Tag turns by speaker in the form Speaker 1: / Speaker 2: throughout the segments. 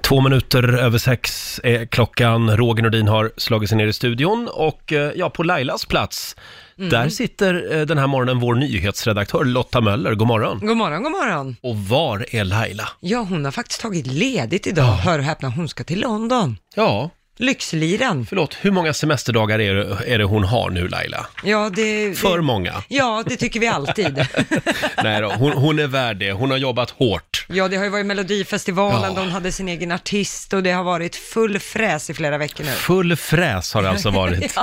Speaker 1: Två minuter över sex är klockan. Roger Nordin har slagit sig ner i studion och eh, ja, på Lailas plats,
Speaker 2: Mm.
Speaker 1: där sitter eh, den här morgonen vår nyhetsredaktör Lotta Möller. God morgon.
Speaker 2: God morgon, god morgon.
Speaker 1: Och var är Laila?
Speaker 2: Ja, hon har faktiskt tagit ledigt idag. Hör och häpna, hon ska till London.
Speaker 1: Ja,
Speaker 2: Lyxliran.
Speaker 1: förlåt, hur många semesterdagar är det, är det hon har nu Laila?
Speaker 2: Ja, det... det-
Speaker 1: För många?
Speaker 2: Ja, det tycker vi alltid.
Speaker 1: Nej då, hon, hon är värd det. Hon har jobbat hårt.
Speaker 2: Ja, det har ju varit Melodifestivalen
Speaker 1: Ja.
Speaker 2: där hon hade sin egen artist och det har varit full fräs i flera veckor nu.
Speaker 1: Full fräs har det alltså varit.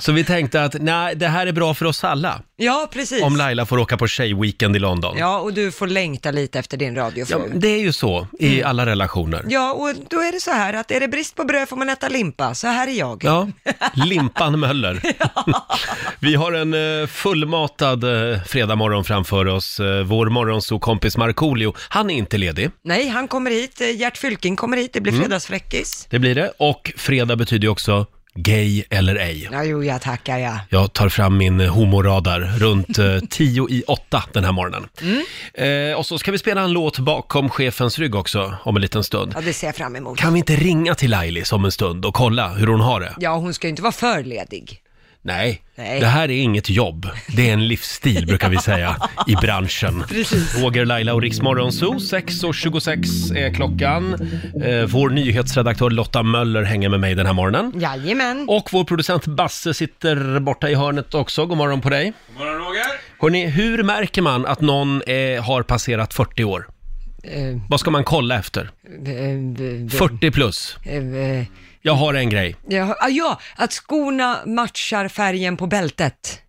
Speaker 1: Så vi tänkte att nej, det här är bra för oss alla.
Speaker 2: Ja, precis.
Speaker 1: Om Laila får åka på tjejweekend i London.
Speaker 2: Ja, och du får längta lite efter din
Speaker 1: Ja,
Speaker 2: radiofru. Ja.
Speaker 1: det är ju så i
Speaker 2: Mm.
Speaker 1: alla relationer.
Speaker 2: och då är det så här att är det brist på bröd får man äta limpa. Så här är jag.
Speaker 1: Ja, Limpan Möller. Vi har en eh, fullmatad eh, fredagmorgon framför oss. Eh, Vår morgonsokompis Markoolio, han är inte ledig.
Speaker 2: Nej, han kommer hit. eh, Gert Fylking kommer hit. Det blir
Speaker 1: Mm.
Speaker 2: fredagsfräckis.
Speaker 1: Det blir det. Och fredag betyder ju också gay eller ej.
Speaker 2: Ja, jo, jag tackar ja.
Speaker 1: Jag tar fram min eh, homoradar runt eh, tio i åtta den här morgonen.
Speaker 2: Mm.
Speaker 1: Eh, och så ska vi spela en låt bakom chefens rygg också om en liten stund.
Speaker 2: Ja, det ser jag fram emot.
Speaker 1: Kan vi inte ringa till Lailis om en stund och kolla hur hon har det?
Speaker 2: Ja, hon ska ju inte vara för ledig.
Speaker 1: Nej,
Speaker 2: Nej.
Speaker 1: det här är inget jobb. Det är en livsstil brukar vi säga i branschen.
Speaker 2: Precis.
Speaker 1: Roger, Laila och Riksmorgon Zoo, 6.26 är klockan. Eh, vår nyhetsredaktör Lotta Möller hänger med mig den här morgonen.
Speaker 2: Jajamän.
Speaker 1: Och vår producent Basse sitter borta i hörnet också. God morgon på dig.
Speaker 3: God morgon Roger!
Speaker 1: Hörrni, hur märker man att någon eh, har passerat 40 år?
Speaker 2: Eh,
Speaker 1: Vad ska man kolla efter?
Speaker 2: eh, eh,
Speaker 1: 40 plus.
Speaker 2: eh, eh,
Speaker 1: Jag har en grej.
Speaker 2: ja, ah, ja, att skorna matchar färgen på bältet.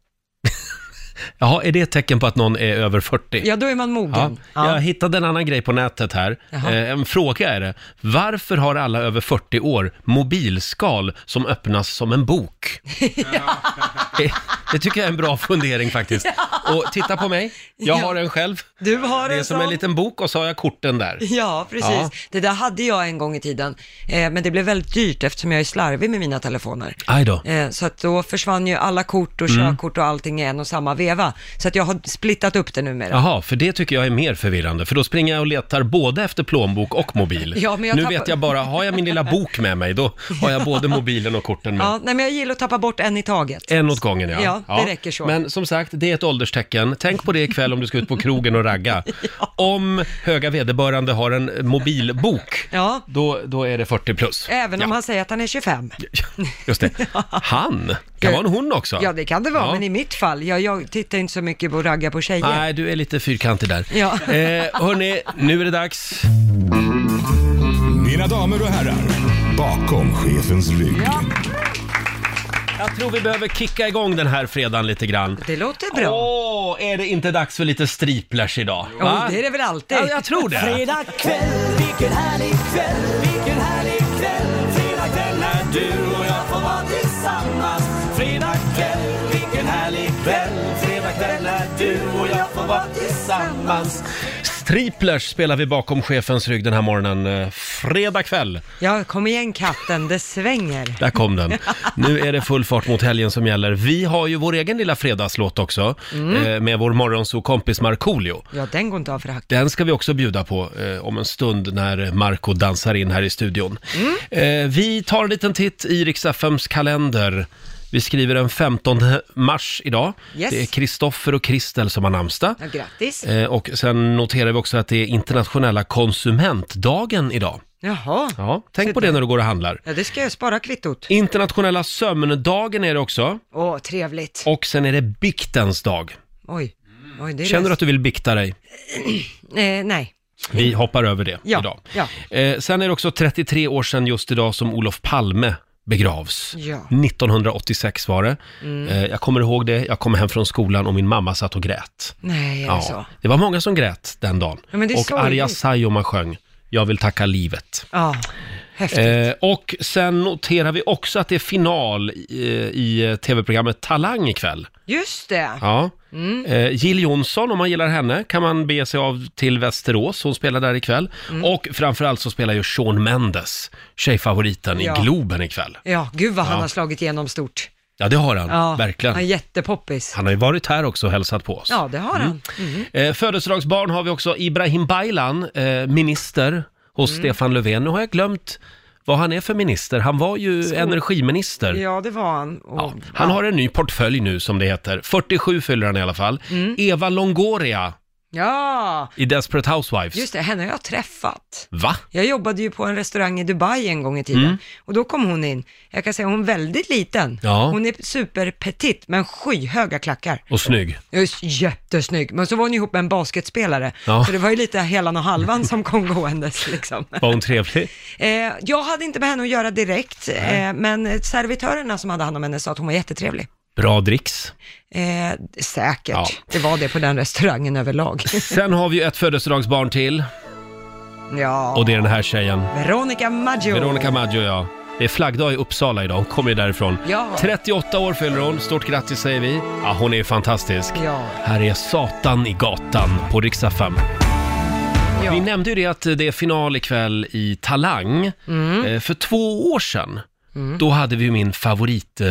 Speaker 1: Jaha, är det ett tecken på att någon är över 40?
Speaker 2: Ja, då är man
Speaker 1: Ja,
Speaker 2: mogen.
Speaker 1: jag hittade en annan grej på nätet här.
Speaker 2: Jaha.
Speaker 1: Eh, en fråga är det. Varför har alla över 40 år mobilskal som öppnas som en bok? Eh, Det tycker jag är en bra fundering faktiskt. Och titta på mig, jag har en själv.
Speaker 2: Du har
Speaker 1: Det är
Speaker 2: en
Speaker 1: som
Speaker 2: sån.
Speaker 1: en liten bok och så har jag korten där.
Speaker 2: Ja, precis.
Speaker 1: Ja.
Speaker 2: Det där hade jag en gång i tiden, eh, men det blev väldigt dyrt eftersom jag är slarvig med mina telefoner.
Speaker 1: Aj då.
Speaker 2: Eh, så att då försvann ju alla kort och
Speaker 1: Mm.
Speaker 2: körkort och allting i en och samma veva. Så att jag har splittat upp det numera.
Speaker 1: Jaha, för det tycker jag är mer förvirrande, för då springer jag och letar både efter plånbok och mobil.
Speaker 2: Ja, men jag
Speaker 1: nu
Speaker 2: tappar-
Speaker 1: vet jag bara, har jag min lilla bok med mig, då har jag både mobilen och korten med.
Speaker 2: Ja, nej, men jag gillar att tappa bort en i taget.
Speaker 1: En åt gången ja.
Speaker 2: Ja, det räcker så.
Speaker 1: Men som sagt, det är ett ålderstecken. Tänk på det ikväll om du ska ut på krogen och ragga. Om höga vederbörande har en mobilbok,
Speaker 2: Ja,
Speaker 1: då, då är det 40 plus.
Speaker 2: även om
Speaker 1: ja,
Speaker 2: han säger att han är 25.
Speaker 1: Just det. Han? Kan vara en hon också.
Speaker 2: Ja, det kan det vara,
Speaker 1: Ja.
Speaker 2: men i mitt fall, jag, jag tittar inte så mycket på ragga på tjejer.
Speaker 1: Nej, du är lite fyrkantig där.
Speaker 2: Ja.
Speaker 1: Eh, hörni, nu är det dags.
Speaker 4: Mina damer och herrar, bakom chefens rygg.
Speaker 1: Jag tror vi behöver kicka igång den här fredagen lite grann.
Speaker 2: Det låter bra.
Speaker 1: Åh, är det inte dags för lite striplers idag?
Speaker 2: Jo, det är det väl alltid.
Speaker 1: Ja, jag tror det.
Speaker 5: Fredag kväll, vilken härlig kväll, vilken härlig kväll Fredag kväll när du och jag får vara tillsammans Fredag kväll, vilken härlig kväll Fredag kväll när du och jag får vara tillsammans
Speaker 1: Striplers spelar vi bakom chefens rygg den här morgonen. eh, Fredag kväll.
Speaker 2: Ja, kom igen katten, det svänger.
Speaker 1: Där kom den. Nu är det full fart mot helgen som gäller. Vi har ju vår egen lilla fredagslåt också
Speaker 2: Mm.
Speaker 1: eh, med vår morgonsokompis Markoolio.
Speaker 2: Ja, den går inte av för hack.
Speaker 1: Den ska vi också bjuda på eh, om en stund när Marco dansar in här i studion. Eh, vi tar en liten titt i Riks-FMs kalender. Vi skriver den 15 mars idag.
Speaker 2: Yes.
Speaker 1: Det är Kristoffer och Kristel som har namnsdag.
Speaker 2: Ja, grattis.
Speaker 1: Eh, och sen noterar vi också att det är internationella konsumentdagen idag.
Speaker 2: Jaha.
Speaker 1: Ja, tänk på det när du går och handlar.
Speaker 2: Ja, det ska jag spara kvittot.
Speaker 1: Internationella sömndagen är det också.
Speaker 2: Åh, trevligt.
Speaker 1: Och sen är det biktens dag.
Speaker 2: Oj. Oj, det är
Speaker 1: Mm. Känner du
Speaker 2: det.
Speaker 1: att du vill bikta dig?
Speaker 2: Eh, nej.
Speaker 1: Vi hoppar över det
Speaker 2: Ja,
Speaker 1: idag.
Speaker 2: ja.
Speaker 1: Eh, sen är det också 33 år sedan just idag som Olof Palme begravs.
Speaker 2: Ja. Mm.
Speaker 1: 1986 var det. Eh, jag kommer ihåg det, jag kom hem från skolan och min mamma satt och grät.
Speaker 2: Nej, är det så?
Speaker 1: det var många som grät den dagen.
Speaker 2: Ja, men det är
Speaker 1: och
Speaker 2: sorgligt.
Speaker 1: Arja Saijonmaa sjöng Jag vill tacka livet.
Speaker 2: Ja, häftigt.
Speaker 1: Eh, och sen noterar vi också att det är final i, i eh, tv-programmet Talang ikväll.
Speaker 2: Just det. Mm.
Speaker 1: Ja. Eh, Jill Johnson, om man gillar henne, kan man bege sig av till Västerås. Hon spelar där ikväll.
Speaker 2: Mm.
Speaker 1: Och framförallt så spelar ju Sean Mendes, tjejfavoriten,
Speaker 2: Ja.
Speaker 1: i Globen ikväll.
Speaker 2: Ja, gud vad han har slagit igenom stort.
Speaker 1: Ja, det har han.
Speaker 2: Ja,
Speaker 1: Verkligen.
Speaker 2: Han är jättepoppis.
Speaker 1: Han har ju varit här också och hälsat på oss. Mm.
Speaker 2: Ja, det har han. Mm.
Speaker 1: Eh, födelsedagsbarn har vi också Ibrahim Baylan, eh, minister hos
Speaker 2: Mm.
Speaker 1: Stefan Löfven. Nu har jag glömt vad han är för minister. Han var ju energiminister.
Speaker 2: Ja, det var han. Och,
Speaker 1: Ja, han har en ny portfölj nu som det heter. 47 fyller han i alla fall.
Speaker 2: Mm.
Speaker 1: Eva Longoria
Speaker 2: ja,
Speaker 1: i Desperate Housewives.
Speaker 2: just det, henne har jag träffat.
Speaker 1: Va?
Speaker 2: Jag jobbade ju på en restaurang i Dubai en gång i tiden
Speaker 1: Mm.
Speaker 2: och då kom hon in. Jag kan säga hon är väldigt liten.
Speaker 1: Ja.
Speaker 2: Hon är superpetit men skyhöga klackar.
Speaker 1: Och snygg.
Speaker 2: Just, jättesnygg, men så var hon ihop med en basketspelare.
Speaker 1: Ja.
Speaker 2: Så det var ju lite helan och halvan som kom gåendes liksom.
Speaker 1: Var hon trevlig?
Speaker 2: Eh, jag hade inte med henne att göra direkt, eh, men servitörerna som hade hand om henne sa att hon var jättetrevlig.
Speaker 1: Bra dricks.
Speaker 2: Eh, säkert,
Speaker 1: Ja.
Speaker 2: det var det på den restaurangen överlag.
Speaker 1: Sen har vi ju ett födelsedagsbarn till
Speaker 2: ja,
Speaker 1: och det är den här tjejen.
Speaker 2: Veronica Maggio.
Speaker 1: Veronica Maggio, ja. Det är flaggdag i Uppsala idag, hon kommer ju därifrån.
Speaker 2: Ja.
Speaker 1: 38 år fyller hon, stort grattis säger vi. Ja, hon är ju fantastisk.
Speaker 2: Ja.
Speaker 1: Här är Satan i gatan på riksdag 5.
Speaker 2: Ja.
Speaker 1: Vi nämnde ju det att det är final ikväll i Talang.
Speaker 2: Mm.
Speaker 1: Eh, För två år sedan, Mm. då hade vi ju min favorit eh,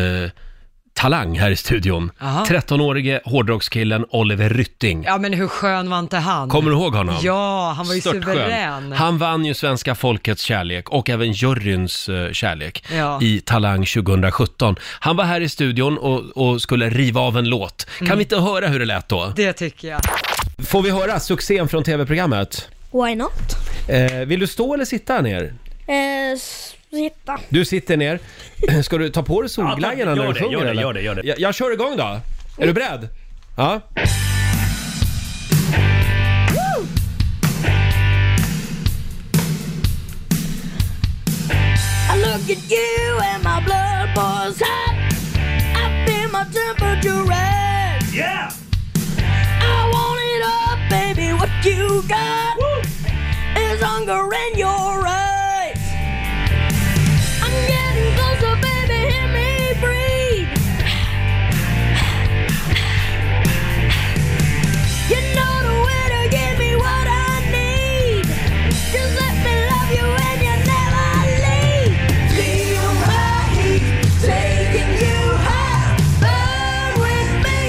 Speaker 1: talang här i studion.
Speaker 2: Aha.
Speaker 1: 13-årige hårdrockskillen Oliver Rytting.
Speaker 2: Ja, men hur skön var inte han?
Speaker 1: Kommer du ihåg honom?
Speaker 2: Ja, han var ju
Speaker 1: Störtskön.
Speaker 2: suverän.
Speaker 1: Han vann ju svenska folkets kärlek och även juryns eh, kärlek
Speaker 2: Ja.
Speaker 1: i Talang 2017. Han var här i studion och, och skulle riva av en låt. Kan vi inte höra hur det lät då?
Speaker 2: Mm. Det tycker jag.
Speaker 1: Får vi höra succén från tv-programmet?
Speaker 3: Why not?
Speaker 1: Eh, vill du stå eller sitta ner?
Speaker 3: Eh, sitta.
Speaker 1: Du sitter ner. Ska du ta på dig solglajjorna
Speaker 6: Ja, ta-
Speaker 1: när
Speaker 6: gör
Speaker 1: du
Speaker 6: det,
Speaker 1: sjunger
Speaker 6: gör det,
Speaker 1: eller?
Speaker 6: gör det, gör det.
Speaker 1: Jag, jag kör igång då. Är du beredd? Ja.
Speaker 3: I look at you and my blood boils hot. I feel my temperature rise.
Speaker 6: Yeah!
Speaker 3: I want it up, baby. What you got is hunger in your eyes. I'm getting closer, baby. Hear me breathe. You know the way to give me what I need. Just let me love you and you never leave. Feel my heat taking you high. Burn with me,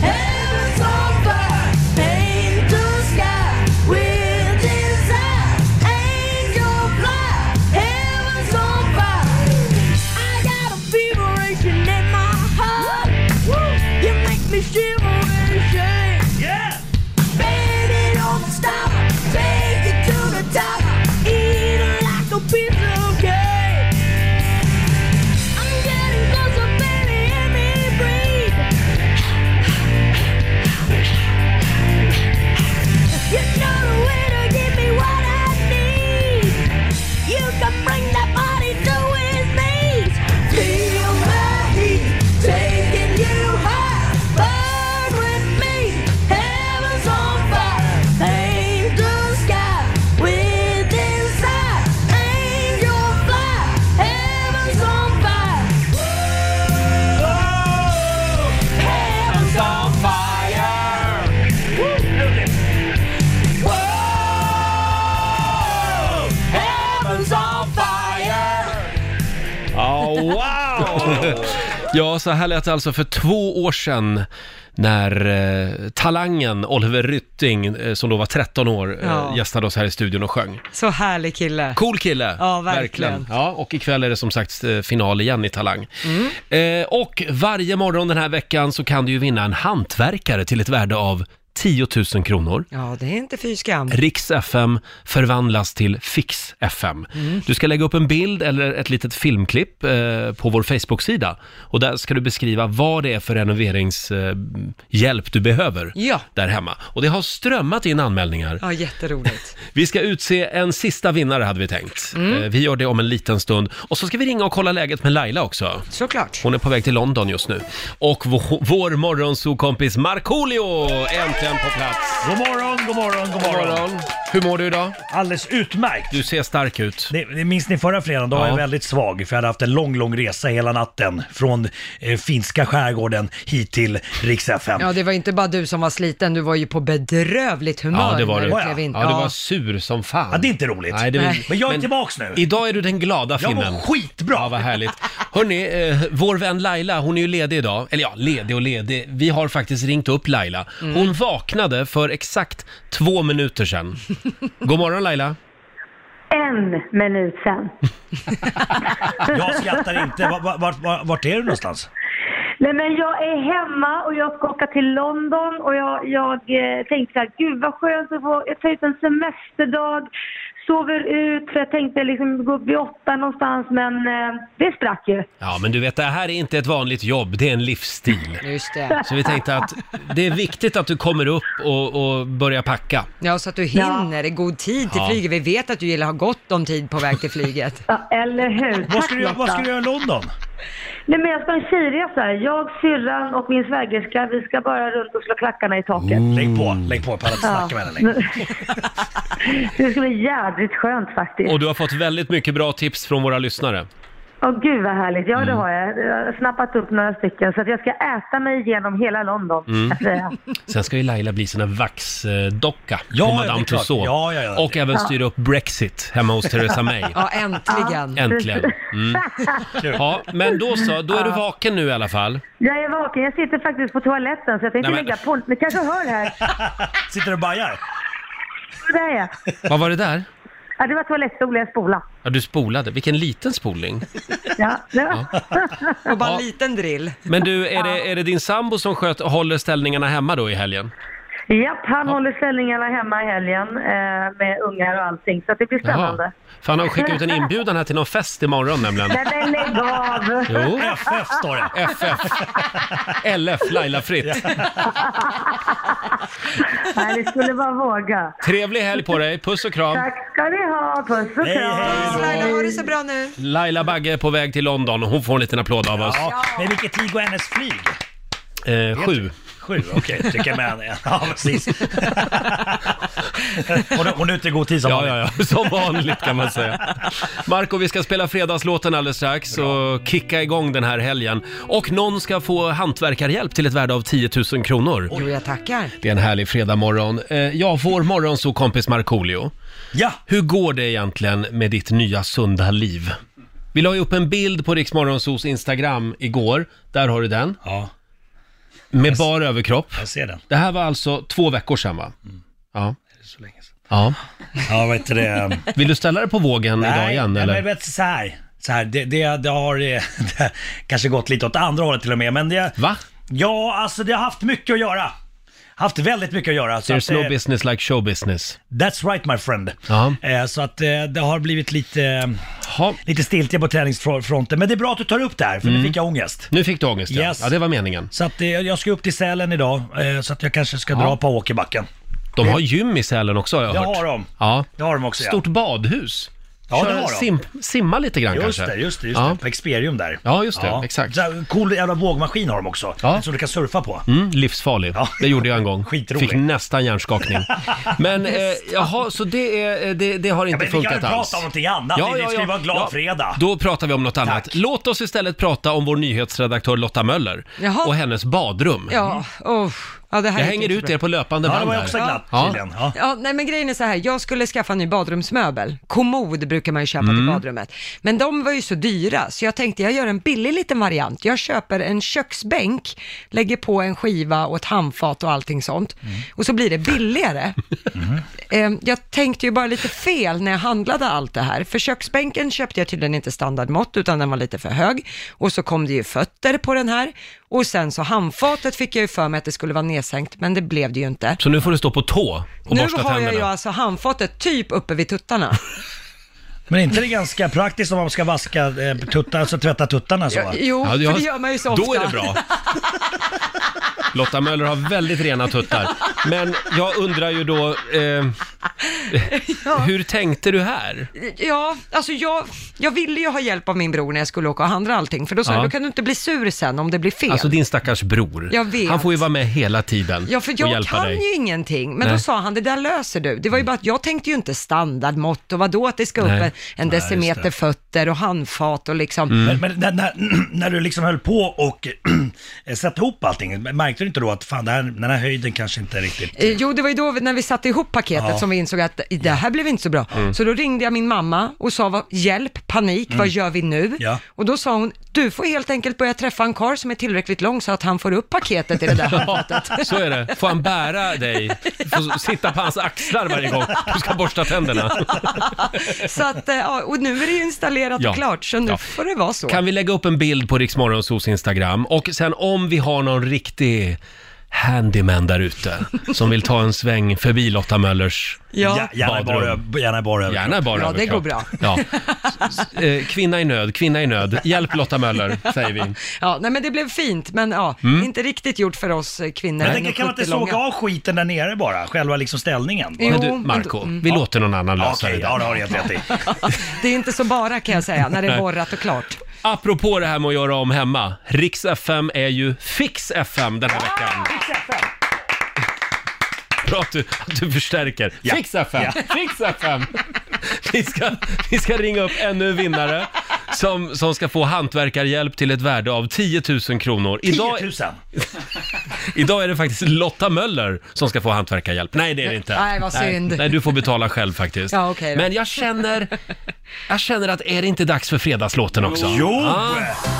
Speaker 3: heaven's on fire. Paint the sky with desire. Angel fly, heaven's on fire. I got a feveration in my heart. You make me shiver and shake.
Speaker 6: Yeah!
Speaker 3: Baby, don't stop. Take it to the top. Eat it like a piece of cake. I'm getting closer, baby. Hear me breathe. You know the way to give me what I need. You can bring that body to his knees. Feel my heat taking you high. Burn with me. Heaven's on fire. Paint the sky with desire. Angel fly. Heaven's on fire. Heaven's on fire. Whoa! Heaven's on fire.
Speaker 6: wow!
Speaker 1: Ja, så här lät det alltså för två år sedan när eh, talangen Oliver Rytting, eh, som då var 13 år,
Speaker 2: Ja.
Speaker 1: eh, gästade oss här i studion och sjöng.
Speaker 2: Så härlig kille.
Speaker 1: Cool kille!
Speaker 2: Ja, verkligen.
Speaker 1: Ja, och ikväll är det som sagt eh, final igen i Talang.
Speaker 2: Mm.
Speaker 1: Eh, och varje morgon den här veckan så kan du ju vinna en hantverkare till ett värde av 10 000 kronor.
Speaker 2: Ja, det är inte fy skam.
Speaker 1: Riks FM förvandlas till Fix FM. Du ska lägga upp en bild eller ett litet filmklipp eh, på vår Facebook-sida. Och där ska du beskriva vad det är för renoveringshjälp eh, hjälp du behöver
Speaker 2: Ja.
Speaker 1: där hemma. Och det har strömmat in anmälningar.
Speaker 2: Ja, jätteroligt.
Speaker 1: Vi ska utse en sista vinnare hade vi tänkt. Eh, vi gör det om en liten stund. Och så ska vi ringa och kolla läget med Laila också.
Speaker 2: Såklart.
Speaker 1: Hon är på väg till London just nu. Och vår, vår morgonsokompis Markoolio är äntligen på plats.
Speaker 6: God morgon, god morgon, god
Speaker 1: God
Speaker 6: morgon.
Speaker 1: morgon. Hur mår du idag?
Speaker 6: Alldeles utmärkt.
Speaker 1: Du ser stark ut.
Speaker 6: Det, det minns ni förra fredagen? Då var
Speaker 1: Ja.
Speaker 6: jag väldigt svag för jag hade haft en lång, lång resa hela natten från eh, finska skärgården hit till riks FM.
Speaker 2: Ja, det var inte bara du som var sliten, du var ju på bedrövligt humör
Speaker 1: Ja, det var
Speaker 2: när
Speaker 1: du.
Speaker 2: du
Speaker 6: Ja,
Speaker 2: klev in.
Speaker 1: Ja, du var sur som fan.
Speaker 6: Ja, det är inte roligt.
Speaker 1: Nej, det är-
Speaker 2: Nej.
Speaker 6: Men jag är
Speaker 1: men-
Speaker 6: tillbaks nu.
Speaker 1: Idag är du den glada
Speaker 6: Jag
Speaker 1: finnen.
Speaker 6: mår skitbra.
Speaker 1: Ja, vad härligt. Hörni, eh, vår vän Laila, hon är ju ledig idag. Eller ja, ledig och ledig. Vi har faktiskt ringt upp Laila.
Speaker 6: Mm.
Speaker 1: Hon vaknade för exakt två minuter sedan. God morgon Laila.
Speaker 7: en minut sen.
Speaker 6: Jag skrattar inte. Va- va- va- va- Vart är du någonstans?
Speaker 7: Nej men jag är hemma och jag ska åka till London och jag, jag eh, tänkte så här, gud vad skönt att få, jag tar ut en semesterdag, sover ut för jag tänkte liksom gå upp vid åtta någonstans men eh, det sprack ju.
Speaker 1: Ja, men du vet, det här är inte ett vanligt jobb, det är en livsstil.
Speaker 2: Just det.
Speaker 1: Så vi tänkte att det är viktigt att du kommer upp och, och börjar packa.
Speaker 2: Ja, så att du hinner i god tid till
Speaker 1: Ja.
Speaker 2: flyget. Vi vet att du gillar att ha gott om tid på väg till flyget.
Speaker 7: Ja, eller hur?
Speaker 6: Vad
Speaker 7: Tack,
Speaker 6: ska du, göra- vad
Speaker 7: Lotta.
Speaker 6: ska du göra i London?
Speaker 7: Nej men jag ska ha en tjejresa. Jag, syrran och min svägerska, vi ska bara runt och slå klackarna i taket.
Speaker 6: Lägg på,
Speaker 1: Mm.
Speaker 6: lägg på. Jag pallar inte Mm. snacka med henne längre.
Speaker 7: det ska bli jädrigt skönt faktiskt.
Speaker 1: Och du har fått väldigt mycket bra tips från våra lyssnare.
Speaker 7: Åh gud vad härligt. Ja
Speaker 1: Mm.
Speaker 7: det har jag. Jag har snappat upp några stycken så att jag ska äta mig igenom hela London.
Speaker 6: Mm.
Speaker 1: Mm.
Speaker 7: kan jag säga.
Speaker 1: Sen ska ju Laila bli sån här vaxdocka
Speaker 6: Ja,
Speaker 1: på
Speaker 6: ja,
Speaker 1: Madame
Speaker 6: det är klart.
Speaker 1: Tussauds.
Speaker 6: Ja, ja, ja.
Speaker 1: Och även styra upp Brexit hemma hos Theresa May.
Speaker 2: Ja, äntligen.
Speaker 1: Äntligen. Mm. Ja, men då så, då är du vaken nu i alla fall.
Speaker 7: Jag är vaken. Jag sitter faktiskt på toaletten så jag tänkte
Speaker 1: Nej, men-
Speaker 7: lägga på. Ni kanske hör här.
Speaker 6: Sitter du och bajar?
Speaker 7: Där är jag.
Speaker 1: Vad var det där?
Speaker 7: Ja, det var toalettstolen jag spolade.
Speaker 1: Ja, du spolade. Vilken liten spolning.
Speaker 7: Ja. Ja.
Speaker 2: Och bara en
Speaker 1: Ja.
Speaker 2: liten drill.
Speaker 1: Men du, är det, är det din sambo som sköt, håller ställningarna hemma då i helgen?
Speaker 7: Japp, han håller ställningarna hemma i helgen eh, med ungar och allting så att det blir spännande.
Speaker 1: För han har skickat ut en inbjudan här till någon fest imorgon nämligen.
Speaker 7: Nej men lägg av!
Speaker 1: Jo,
Speaker 6: FF står det.
Speaker 1: FF. LF, Laila Fritt.
Speaker 7: Nej, ni skulle bara våga.
Speaker 1: Trevlig helg på dig, puss och kram.
Speaker 7: Tack ska ni ha, puss och
Speaker 6: Hej, hej.
Speaker 7: kram!
Speaker 2: Laila, ha det så bra nu.
Speaker 1: Laila Bagge är på väg till London och hon får en liten applåd av oss.
Speaker 6: Ja, men vilken tid går hennes flyg?
Speaker 1: Eh, sju.
Speaker 6: Sju, okej. Tycker jag med henne. Ja, precis. Hon, hon är ute i god tid som
Speaker 1: Ja,
Speaker 6: vanligt.
Speaker 1: ja, ja, som vanligt kan man säga. Marco, vi ska spela fredagslåten alldeles strax och kicka igång den här helgen. Och någon ska få hantverkarhjälp till ett värde av 10 000 kronor.
Speaker 2: Jo, jag tackar.
Speaker 1: Det är en härlig fredagmorgon. Eh, ja, vår morgonsåkompis Markoolio.
Speaker 6: ja.
Speaker 1: Hur går det egentligen med ditt nya sunda liv? Vi la ju upp en bild på Riksmorgonsos Instagram igår. Där har du den.
Speaker 6: Ja,
Speaker 1: Med bar överkropp.
Speaker 6: jag ser den.
Speaker 1: Det här var alltså två veckor sedan va? Ja.
Speaker 6: Så länge sedan.
Speaker 1: ja.
Speaker 6: Ja, vad heter det?
Speaker 1: Vill du ställa det på vågen idag igen
Speaker 6: nej,
Speaker 1: eller?
Speaker 6: men vet, så här. Så här det, det, det har eh, det, kanske gått lite åt andra hållet till och med, men det...
Speaker 1: Va?
Speaker 6: Ja, alltså det har haft mycket att göra. Haft väldigt mycket att göra. Så att,
Speaker 1: There's
Speaker 6: eh,
Speaker 1: no business like show business.
Speaker 6: That's right my friend.
Speaker 1: Ja.
Speaker 6: Eh, Så att eh, det har blivit lite, eh,
Speaker 1: Ja.
Speaker 6: lite stiltje på träningsfronten. Men det är bra att du tar upp det här, för
Speaker 1: Mm.
Speaker 6: nu fick jag ångest.
Speaker 1: Nu fick du ångest ja.
Speaker 6: Yes.
Speaker 1: ja, det var meningen.
Speaker 6: Så att eh, jag ska upp till Sälen idag, eh, så att jag kanske ska dra på åkerbacken.
Speaker 1: De har gym i Sälen också har jag
Speaker 6: Det
Speaker 1: hört.
Speaker 6: har de.
Speaker 1: Ja.
Speaker 6: Det har de också
Speaker 1: Stort badhus.
Speaker 6: Ja, det
Speaker 1: Kör-
Speaker 6: har de.
Speaker 1: simma lite grann
Speaker 6: ja. Just
Speaker 1: kanske.
Speaker 6: det, just det, just
Speaker 1: ja.
Speaker 6: det. På Experium där.
Speaker 1: Ja, just det, exakt.
Speaker 6: Så här, cool jävla vågmaskin har de också,
Speaker 1: Ja.
Speaker 6: som du kan surfa på.
Speaker 1: Mm, livsfarlig.
Speaker 6: Ja.
Speaker 1: Det gjorde jag en gång.
Speaker 6: Skitrolig.
Speaker 1: Fick nästan hjärnskakning. Men eh, jaha, så det, är, eh, det, det har inte
Speaker 6: men vi kan
Speaker 1: funkat
Speaker 6: väl prata
Speaker 1: alls.
Speaker 6: om någonting annat. Det- det ska ju vara en glad fredag.
Speaker 1: Då pratar vi om något annat.
Speaker 6: Tack.
Speaker 1: Låt oss istället prata om vår nyhetsredaktör Lotta Möller
Speaker 2: Jaha.
Speaker 1: och hennes badrum.
Speaker 2: Ja, oh. ja det här
Speaker 1: Mm. Jag
Speaker 2: gick
Speaker 1: hänger
Speaker 2: inte så
Speaker 1: ut
Speaker 2: bra.
Speaker 1: er på löpande
Speaker 6: Ja, det
Speaker 1: band
Speaker 6: var ju
Speaker 1: här.
Speaker 6: också glatt
Speaker 1: Ja.
Speaker 6: tydligen. Ja.
Speaker 2: Ja, nej men grejen är så här, jag skulle skaffa en ny badrumsmöbel. Kommod brukar man ju köpa till badrummet. Men de var ju så dyra, så jag tänkte jag gör en billig liten variant. Jag köper en köksbänk, lägger på en skiva och ett handfat och allting sånt. Och så blir det billigare. Eh, Jag tänkte ju bara lite fel när jag handlade allt det här, för köksbänken köpte jag tydligen inte standardmått, utan den var lite för hög. Och så kom det ju fötter på den här. Och sen så handfatet fick jag ju för mig att det skulle vara nedsänkt, men det blev det ju inte.
Speaker 1: Så nu får du stå på tå och
Speaker 2: Nu
Speaker 1: borsta
Speaker 2: har
Speaker 1: tänderna.
Speaker 2: jag ju alltså handfatet typ uppe vid tuttarna.
Speaker 6: Men är inte det ganska praktiskt om man ska vaska eh, tuttar, alltså tvätta tuttarna så?
Speaker 2: Jo,
Speaker 1: Ja, jag-
Speaker 2: för det gör man ju så ofta.
Speaker 1: Då är det bra. Lotta Möller har väldigt rena tuttar. Men jag undrar ju då, eh, hur tänkte du här?
Speaker 2: Ja, alltså jag, jag ville ju ha hjälp av min bror när jag skulle åka och handla allting, för då sa
Speaker 1: Ja.
Speaker 2: jag, då kan du inte bli sur sen om det blir fel.
Speaker 1: Alltså din stackars bror.
Speaker 2: Jag vet.
Speaker 1: Han får ju vara med hela tiden
Speaker 2: Ja, för
Speaker 1: och
Speaker 2: jag
Speaker 1: hjälpa
Speaker 2: kan
Speaker 1: dig.
Speaker 2: ju ingenting. Men
Speaker 1: Nej.
Speaker 2: då sa han, det där löser du. Det var ju bara att jag tänkte ju inte standardmått och vadå att det ska upp
Speaker 1: Nej.
Speaker 2: en, en decimeter fötter och handfat och liksom.
Speaker 1: Mm.
Speaker 6: Men, Mm. men när, när, när du liksom höll på och sätta ihop allting, märkte du inte då att fan, det här, den här höjden kanske inte är riktigt.
Speaker 2: Eh, Jo, det var ju då vi- när vi satte ihop paketet
Speaker 6: Ja.
Speaker 2: som vi insåg att det här blev inte så bra.
Speaker 1: Mm.
Speaker 2: Så då ringde jag min mamma och sa "Vad- hjälp, panik, vad gör vi nu?
Speaker 6: Ja.
Speaker 2: Och då sa hon, du får helt enkelt börja träffa en karl som är tillräckligt lång så att han får upp paketet i det där handfatet.
Speaker 1: Så är det. Får han bära dig? Får sitta på hans axlar varje gång du ska borsta tänderna.
Speaker 2: Så att, eh, ja, och nu är det ju installerat
Speaker 1: Ja.
Speaker 2: och klart, så nu
Speaker 1: Ja.
Speaker 2: får det vara så.
Speaker 1: Kan vi lägga upp en bild på Riksmorgonsos Instagram? Och sen om vi har någon riktig handyman där ute som vill ta en sväng förbi Lotta Möllers
Speaker 2: Ja.
Speaker 6: Ja, gärna i bara,
Speaker 1: Badrum.
Speaker 6: gärna i bara överkropp.
Speaker 1: Gärna bara
Speaker 2: Ja, det
Speaker 1: överkropp.
Speaker 2: går bra.
Speaker 1: Ja. S- eh, Kvinna i nöd, kvinna i nöd. Hjälp Lotta Möller, säger vi.
Speaker 2: Ja, nej men det blev fint, men ja,
Speaker 1: Mm.
Speaker 2: inte riktigt gjort för oss eh, kvinnor.
Speaker 6: Men tänker, kan man inte
Speaker 2: 1,70
Speaker 6: såga
Speaker 2: långa.
Speaker 6: av skiten där nere bara? Själva liksom ställningen?
Speaker 2: Jo,
Speaker 1: Men du,
Speaker 2: men
Speaker 1: Marco,
Speaker 2: då- mm.
Speaker 1: vi låter någon annan
Speaker 6: Ja,
Speaker 1: lösa
Speaker 6: Okej,
Speaker 1: det
Speaker 6: ja
Speaker 1: där.
Speaker 6: det har du helt rätt i.
Speaker 2: Det är inte så bara kan jag säga, när det är borrat och klart.
Speaker 1: Apropå det här med att göra om hemma. Riks FM är ju Fix FM den här
Speaker 2: Ah,
Speaker 1: veckan. Bra att du, att du förstärker. Fix FM! Fix FM! Vi ska, vi ska ringa upp ännu en vinnare som, som ska få hantverkarhjälp till ett värde av 10 000 kronor.
Speaker 6: 10
Speaker 1: Idag,
Speaker 6: 000.
Speaker 1: idag är det faktiskt Lotta Möller som ska få hantverkarhjälp. Nej, det är det inte.
Speaker 2: Nej, vad synd.
Speaker 1: Nej, nej, du får betala själv faktiskt.
Speaker 2: Ja, okej då.
Speaker 1: Men jag känner, jag känner att är det inte dags för fredagslåten också?
Speaker 6: Jo!
Speaker 1: Ah.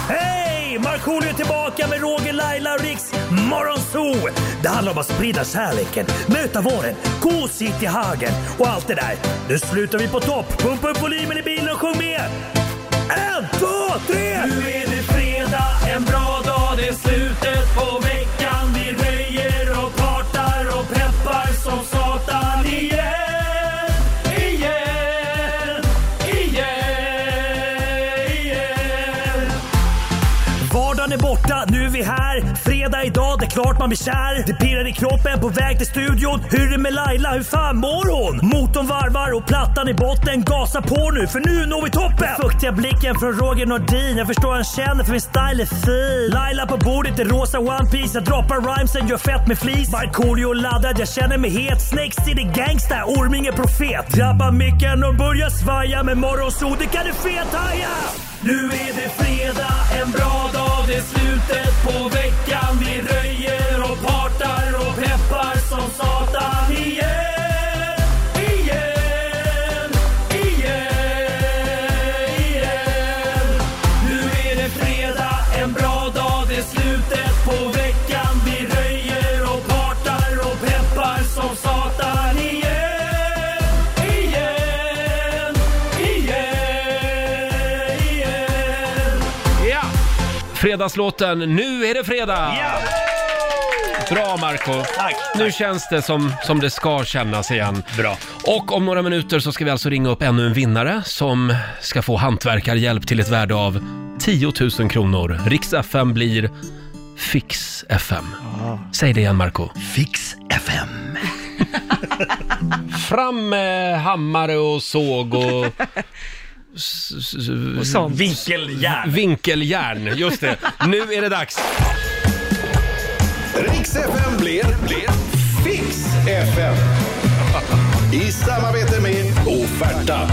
Speaker 6: Hej! Markoolio är tillbaka med Roger, Laila och Riks Morgonzoo! Det handlar om att sprida kärleken, möta våren, gosigt i hagen och allt det där. Nu slutar vi på topp! Pumpa upp volymen i bilen och sjung med! En, två, tre! Nu är det fredag, en bra dag, det är slutet på veckan. Vi röjer och partar och peppar som satan igen, igen, igen, igen. Vardagen är borta, nu är vi här. Fredag idag, det är klart man blir kär. Det pirrar i kroppen på väg till studion. Hur är det med Laila, hur fan mår hon? Motorn varvar och plattan i botten. Gasa på nu, för nu når vi toppen! Den fuktiga blicken från Roger Nordin. Jag förstår han känner, för min style är fin. Laila på bordet i rosa One Piece Jag droppar rhymesen, gör fett med flis. Markoolio laddad, jag känner mig het. Snake City gangsta, Orminge profet. Drabbar micken och börjar svaja. Med morgonsol, det kan du fethaja! Nu är det fredag, en bra dag, det är slutet på veckan. Vi röjer och partar och peppar som satan igen. Igen, igen, igen. Nu är det fredag, en bra dag, det är slutet på veckan. Vi röjer och partar och peppar som satan igen. Igen, igen, igen.
Speaker 1: Ja! Fredagslåten Nu är det fredag!
Speaker 6: Ja,
Speaker 1: Bra Marco
Speaker 6: Tack.
Speaker 1: Nu känns det som, som det ska kännas igen.
Speaker 6: Bra.
Speaker 1: Och om några minuter så ska vi alltså ringa upp ännu en vinnare som ska få hantverkarhjälp till ett värde av 10 000 kronor. Riks FM blir Fix FM.
Speaker 2: Ah.
Speaker 1: Säg det igen Marco
Speaker 6: Fix FM.
Speaker 1: Fram med hammare och såg och... s- s-
Speaker 2: Och sånt.
Speaker 6: Vinkeljärn.
Speaker 1: Vinkeljärn, just det. Nu är det dags.
Speaker 4: Riks FM blir, blir Fix FM. I samarbete med Offerta.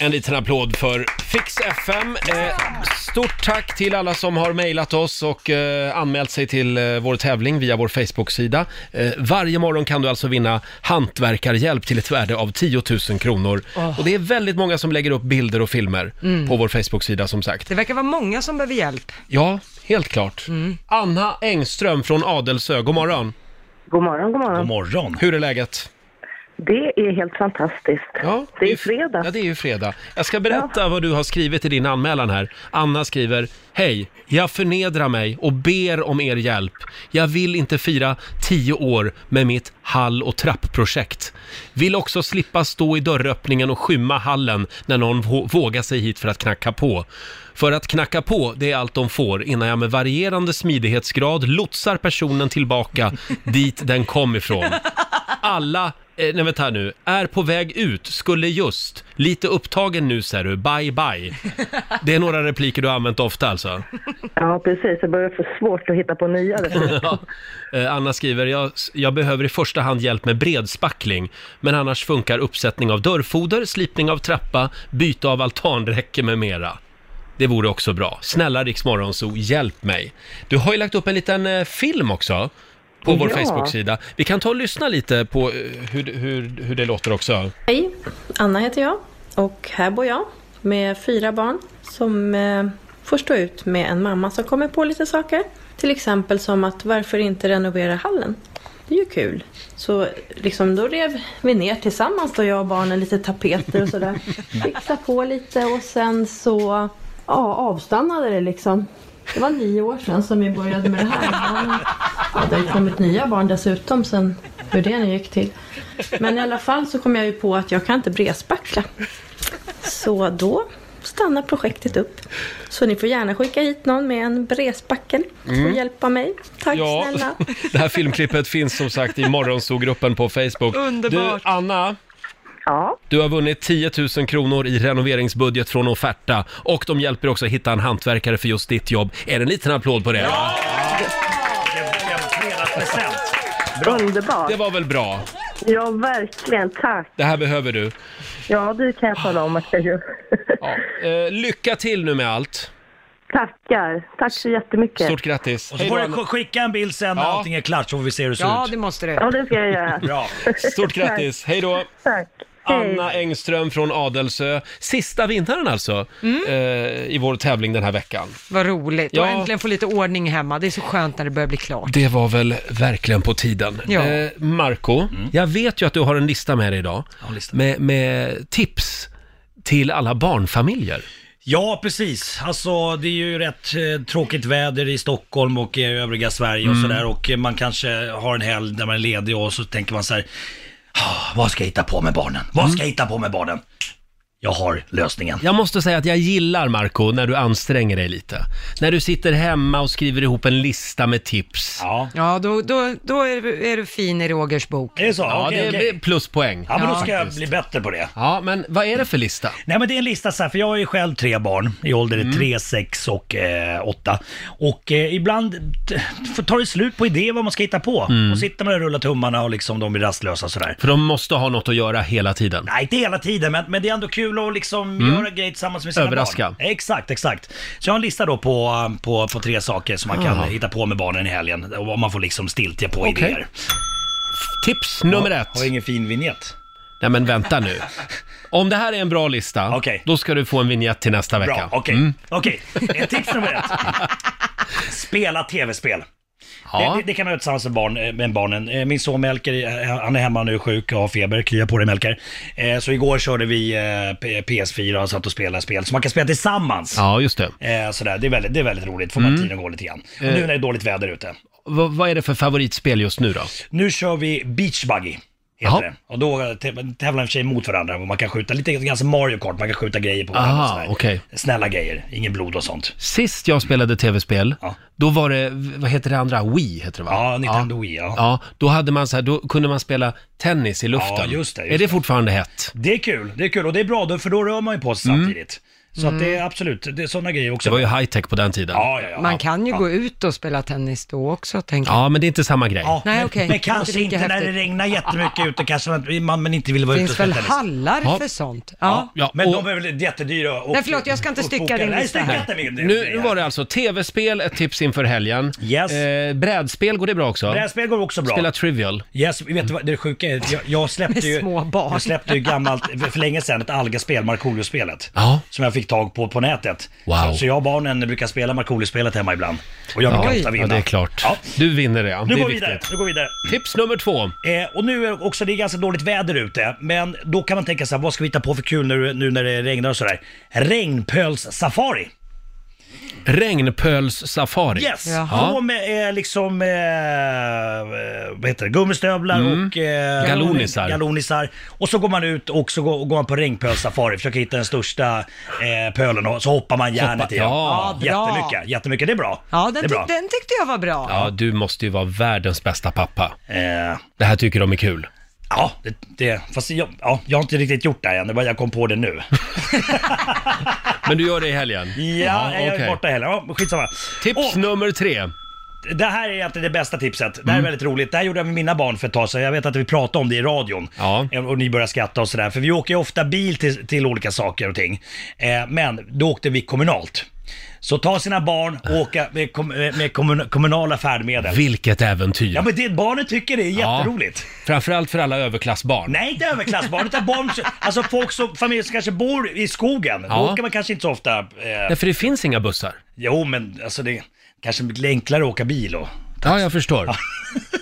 Speaker 1: En liten applåd för Fix FM. Eh, stort tack till alla som har mejlat oss och eh, anmält sig till eh, vår tävling via vår Facebook-sida. Eh, varje morgon kan du alltså vinna hantverkarhjälp till ett värde av 10 000 kronor. Och det är väldigt många som lägger upp bilder och filmer på vår Facebook-sida som sagt.
Speaker 2: Mm. Det verkar vara många som behöver hjälp. Mm.
Speaker 1: Ja, helt klart. Anna Engström från Adelsö, god morgon.
Speaker 8: God morgon, god morgon.
Speaker 6: God morgon.
Speaker 1: Hur är läget?
Speaker 8: Det är helt fantastiskt. det är
Speaker 1: ju-
Speaker 8: ju fredag.
Speaker 1: Ja, det är ju fredag. Jag ska berätta vad du har skrivit i din anmälan här. Anna skriver, hej, jag förnedrar mig och ber om er hjälp. Jag vill inte fira tio år med mitt hall och trappprojekt. Vill också slippa stå i dörröppningen och skymma hallen när någon vå- vågar sig hit för att knacka på. För att knacka på, det är allt de får innan jag med varierande smidighetsgrad lotsar personen tillbaka dit den kom ifrån alla, eh, nej vänta här nu, är på väg ut, skulle just, lite upptagen nu ser du, bye bye. Det är några repliker du har använt ofta alltså.
Speaker 8: Ja, precis. Det börjar få svårt att hitta på nya. Det
Speaker 1: Ja. Eh, Anna skriver, jag, jag behöver i första hand hjälp med bredspackling, men annars funkar uppsättning av dörrfoder, slipning av trappa, byte av altanräcke med mera. Det vore också bra. Snälla Riksmorgonso, hjälp mig. Du har ju lagt upp en liten eh, film också på vår
Speaker 8: Ja.
Speaker 1: Facebook-sida. Vi kan ta och lyssna lite på eh, hur, hur, hur det låter också.
Speaker 9: Hej, Anna heter jag och här bor jag med fyra barn som eh, får stå ut med en mamma som kommer på lite saker. Till exempel som att varför inte renovera hallen? Det är ju kul. Så liksom då rev vi ner tillsammans då jag och barnen lite tapeter och sådär. Fixa på lite och sen så ja, avstannade det liksom. Det var nio år sedan som vi började med det här. Men, ja, det har ju kommit nya barn dessutom sen hur det nu gick till. Men i alla fall så kom jag ju på att jag kan inte bresbackla. Så då stannar projektet upp. Så ni får gärna skicka hit någon med en bresbackel och hjälpa mig. Tack
Speaker 1: Mm. Ja,
Speaker 9: snälla.
Speaker 1: det här filmklippet finns som sagt i morgonsågruppen på Facebook.
Speaker 2: Underbart.
Speaker 1: Du, Anna,
Speaker 8: Ja,
Speaker 1: du har vunnit 10 000 kronor i renoveringsbudget från Offerta och de hjälper också att hitta en hantverkare för just ditt jobb. Är det en liten applåd på det? Ja!
Speaker 6: En fredad present.
Speaker 8: underbart.
Speaker 1: Det var väl bra?
Speaker 8: Ja, verkligen. Tack.
Speaker 1: Det här behöver du.
Speaker 8: Ja, det kan jag tala om att jag gör.
Speaker 1: Ja. Eh, lycka till nu med allt.
Speaker 8: Tackar. Tack så jättemycket.
Speaker 1: Stort grattis.
Speaker 6: Och så
Speaker 1: Hej
Speaker 6: får
Speaker 1: då,
Speaker 6: du
Speaker 1: Anna.
Speaker 6: sk- skicka en bild sen när
Speaker 1: Ja.
Speaker 6: allting är klart så får vi se hur det ser
Speaker 2: Ja,
Speaker 6: ut.
Speaker 2: det måste du.
Speaker 8: Ja, det ska jag göra.
Speaker 6: Bra.
Speaker 1: Stort grattis. Hej då.
Speaker 8: Tack. Hej.
Speaker 1: Anna Engström från Adelsö. Sista vinnaren alltså eh, i vår tävling den här veckan.
Speaker 2: Vad roligt.
Speaker 1: Ja.
Speaker 2: Och äntligen få lite ordning hemma. Det är så skönt när det börjar bli klart.
Speaker 1: Det var väl verkligen på tiden.
Speaker 2: Ja.
Speaker 1: Eh, Marco, jag vet ju att du har en lista med dig idag.
Speaker 6: Mm. en lista.
Speaker 1: Med, med tips till alla barnfamiljer.
Speaker 6: Ja, precis. Alltså, det är ju rätt eh, tråkigt väder i Stockholm och i övriga Sverige och sådär. Och eh, man kanske har en helg där man är ledig och så tänker man så här, "Ah, vad ska jag hitta på med barnen? Vad ska jag hitta på med barnen? Jag har lösningen.
Speaker 1: Jag måste säga att jag gillar Marco när du anstränger dig lite. När du sitter hemma och skriver ihop en lista med tips.
Speaker 6: Ja,
Speaker 2: Ja, då, då, då är, du, är du fin i Rogers bok.
Speaker 6: är det så?
Speaker 1: Ja,
Speaker 6: Okej,
Speaker 1: det
Speaker 6: okej.
Speaker 1: blir pluspoäng.
Speaker 6: Ja, men då ska jag
Speaker 1: faktiskt.
Speaker 6: bli bättre på det.
Speaker 1: Ja, men vad är det för lista? Mm.
Speaker 6: Nej men det är en lista så här, för jag har ju själv tre barn i ålder 3, 6 och 8. och eh, ibland t- får- tar det slut på idéer vad man ska hitta på.
Speaker 1: Mm.
Speaker 6: Och sitter man där och rullar tummarna och liksom de blir rastlösa sådär.
Speaker 1: För de måste ha något att göra hela tiden.
Speaker 6: Nej, inte hela tiden, men, men det är ändå kul att liksom göra grejer tillsammans med sina
Speaker 1: Mm. Överraska.
Speaker 6: barn. Exakt, exakt. Så jag har en lista då på, eh, på, på tre saker som man kan
Speaker 1: Aha.
Speaker 6: hitta på med barnen i helgen. Och vad man får liksom stiltja på
Speaker 1: Okej.
Speaker 6: idéer.
Speaker 1: Tips nummer ett.
Speaker 6: Har ingen fin vignett.
Speaker 1: Nej men vänta nu. Om det här är en bra lista,
Speaker 6: Okej.
Speaker 1: då ska du få en vignett till nästa vecka. Mm.
Speaker 6: Bra, okej. Okej, Eh, tips nummer ett. Spela tv-spel.
Speaker 1: Ja.
Speaker 6: Det, det, det kan man göra tillsammans med, barn, eh, med barnen. Eh, Min son Melker, eh, han är hemma nu sjuk och har feber. Krya på dig Melker. Eh, Så igår körde vi eh, P- PS4 och satt och spelade spel. Så man kan spela tillsammans.
Speaker 1: ja, Mm. Eh. just det.
Speaker 6: Eh, Sådär. Det, är väldigt, det är väldigt roligt, får man tiden att gå lite grann. Och nu när det är dåligt väder ute.
Speaker 1: V- vad är det för favoritspel just nu då?
Speaker 6: Nu kör vi Beach Buggy. Heter
Speaker 1: Jaha.
Speaker 6: det. Och då tä- tävlar i och för sig mot varandra och man kan skjuta lite grann som Mario Kart, man kan skjuta grejer på varandra.
Speaker 1: Aha,
Speaker 6: och sådär.
Speaker 1: okej.
Speaker 6: Snälla grejer, ingen blod och sånt.
Speaker 1: Sist jag spelade tv-spel,
Speaker 6: Ja.
Speaker 1: då var det, vad heter det andra? Wii heter det va?
Speaker 6: Ja, Nintendo Wii ja.
Speaker 1: Ja, då, hade man så här, då kunde man spela tennis i luften.
Speaker 6: Ja, just det, just
Speaker 1: är det
Speaker 6: det.
Speaker 1: fortfarande hett?
Speaker 6: Det är kul, det är kul och det är bra då, för då rör man ju på sig
Speaker 1: Mm.
Speaker 6: samtidigt. Så att
Speaker 2: Mm.
Speaker 6: det är absolut, det är sådana grejer också.
Speaker 1: Det var ju high-tech på den tiden.
Speaker 6: ja, ja, ja.
Speaker 2: Man kan ju gå ut och spela tennis då också, tänker jag.
Speaker 1: Ja, men det är inte samma grej.
Speaker 6: Ja,
Speaker 2: Nej,
Speaker 6: men,
Speaker 2: okej.
Speaker 6: men
Speaker 2: Det
Speaker 6: kanske
Speaker 2: är
Speaker 6: inte
Speaker 2: lika
Speaker 6: när det
Speaker 2: häftigt.
Speaker 6: regnar jättemycket ute, kanske man, man men inte vill vara
Speaker 2: Det
Speaker 6: ute och
Speaker 2: finns väl
Speaker 6: spela tennis.
Speaker 2: hallar
Speaker 1: Ja.
Speaker 2: för sånt?
Speaker 1: Ja,
Speaker 2: Ja.
Speaker 1: ja.
Speaker 6: Men
Speaker 1: och
Speaker 6: de är väl jättedyra och...
Speaker 2: Nej, förlåt, jag ska inte
Speaker 6: och
Speaker 2: stycka
Speaker 6: bokade.
Speaker 2: din
Speaker 6: Nej,
Speaker 2: lista
Speaker 6: stycka
Speaker 2: här.
Speaker 6: inte min-
Speaker 1: nu, nu var det alltså tv-spel, ett tips inför helgen.
Speaker 6: Yes.
Speaker 1: Eh, brädspel, går det bra också?
Speaker 6: Brädspel går också bra.
Speaker 1: Spela trivial.
Speaker 6: Yes, vet du vad det sjuka är? Jag, jag släppte ju...
Speaker 2: Med små barn.
Speaker 6: Jag släppte ju gammalt, för för länge sedan, ett Alga-spel, Markoolio-spelet.
Speaker 1: Ja.
Speaker 6: Som jag fick tag på på nätet.
Speaker 1: Wow.
Speaker 6: Så, så jag och barnen brukar spela Markoolio-spelet hemma ibland. Och jag brukar
Speaker 1: Ja,
Speaker 6: ofta vinna.
Speaker 1: ja, det är klart.
Speaker 6: Ja.
Speaker 1: Du vinner det, ja.
Speaker 6: Nu
Speaker 1: det är
Speaker 6: går vi vidare,
Speaker 1: viktigt.
Speaker 6: nu går vi vidare.
Speaker 1: Tips nummer två.
Speaker 6: Eh, och nu är det också, det är ganska dåligt väder ute, men då kan man tänka sig vad ska vi hitta på för kul nu, nu när det regnar och sådär? Regnpöls-safari.
Speaker 1: Regnpöls-safari.
Speaker 6: Yes!
Speaker 1: Jaha.
Speaker 6: Gå med eh, liksom, eh, eh, vad heter det, gummistövlar och eh,
Speaker 1: Mm. Galonisar.
Speaker 6: galonisar. Och så går man ut och så går, går man på regnpölssafari, försöker hitta den största eh, pölen och så hoppar man järnet
Speaker 1: Hoppa-
Speaker 6: i den.
Speaker 1: ja.
Speaker 2: Ja, bra.
Speaker 6: Jättemycket, jättemycket. Det är bra.
Speaker 2: Ja,
Speaker 6: det
Speaker 2: den,
Speaker 6: är bra.
Speaker 2: tyck- den tyckte jag var bra.
Speaker 1: Ja, du måste ju vara världens bästa pappa.
Speaker 6: Eh,
Speaker 1: Det här tycker de är kul.
Speaker 6: ja, det, det, fast jag, ja, jag har inte riktigt gjort det här än, det var, jag kom på det nu.
Speaker 1: Men du gör det i helgen?
Speaker 6: Ja, jag är
Speaker 1: okej.
Speaker 6: borta heller. Ja, skitsamma.
Speaker 1: Tips
Speaker 6: Åh,
Speaker 1: nummer tre. Mm.
Speaker 6: det här är egentligen det bästa tipset. Det här är väldigt roligt. Det här gjorde jag med mina barn för ett tag sedan. Jag vet att vi pratade om det i radion.
Speaker 1: Ja.
Speaker 6: Eh, Och ni började skratta och sådär. För vi åker ju ofta bil till, till olika saker och ting. Eh, men då åkte vi kommunalt. Så ta sina barn och åka med, kom, eh, med kommun, kommunala färdmedel.
Speaker 1: Vilket äventyr!
Speaker 6: Ja men det barnet tycker det är
Speaker 1: Ja.
Speaker 6: jätteroligt.
Speaker 1: Framförallt för alla överklassbarn.
Speaker 6: Nej, inte överklassbarn utan barn, alltså folk som, familjer som kanske bor i skogen.
Speaker 1: Ja.
Speaker 6: Då åker man kanske inte så ofta. Eh,
Speaker 1: Därför det finns inga bussar.
Speaker 6: jo men alltså det kanske blir enklare att åka bil och
Speaker 1: Ja, jag förstår.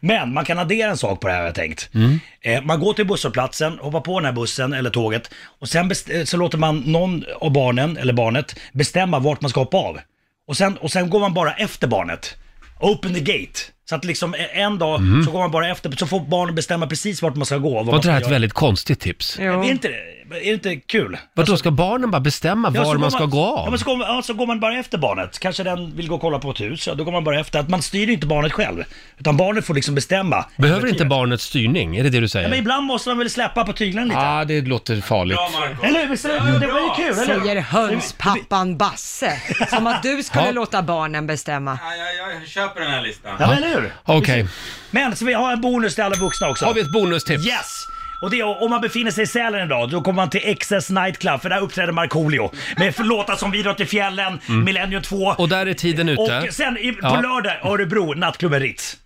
Speaker 6: Men man kan addera en sak på det här har jag tänkt.
Speaker 1: Mm.
Speaker 6: Eh, man går till busshållplatsen, hoppar på den här bussen eller tåget och sen best- eh, så låter man någon av barnen, eller barnet, bestämma vart man ska hoppa av. Och sen, och sen går man bara efter barnet. Open the gate. Så att liksom eh, en dag så går man bara efter, så får barnen bestämma precis vart man ska gå. och
Speaker 1: Var
Speaker 6: man
Speaker 1: inte
Speaker 6: ska
Speaker 1: Mhm. det här ett
Speaker 6: göra.
Speaker 1: väldigt konstigt tips?
Speaker 6: Är
Speaker 2: Jo.
Speaker 6: inte det, är det inte kul?
Speaker 1: Vadå, ska barnen bara bestämma
Speaker 6: Alltså- Ja, så
Speaker 1: var
Speaker 6: går
Speaker 1: man ska gå
Speaker 6: Ja, men
Speaker 1: av?
Speaker 6: så går, ja, så går man bara efter barnet. Kanske den vill gå och kolla på ett hus, ja, då går man bara efter. Att man styr ju inte barnet själv, utan barnet får liksom bestämma.
Speaker 1: Behöver inte barnet styrning? Är det det du
Speaker 6: Ja, men
Speaker 1: säger?
Speaker 6: ibland måste man väl släppa på tyglarna lite?
Speaker 1: Ja, ah, det låter farligt.
Speaker 6: Eller hur? Visst, är det, det var ju kul, eller hur?
Speaker 2: Säger hönspappan Basse. Som att du skulle
Speaker 1: Ja.
Speaker 2: låta barnen bestämma.
Speaker 5: Ja, jag, jag köper den här listan.
Speaker 6: Ja, men eller hur?
Speaker 1: Okej,
Speaker 6: Men så vi har en bonus till alla vuxna också.
Speaker 1: har vi ett bonustips?
Speaker 6: Yes! Och det är om man befinner sig i Sälen en dag, då kommer man till XS Nightclub för där uppträder Markoolio. Med låtar som Vi drar till fjällen, Millennium 2
Speaker 1: Mm. Och där är tiden ute.
Speaker 6: och sen i, på
Speaker 1: Ja.
Speaker 6: lördag Örebro, nattklubben Ritz.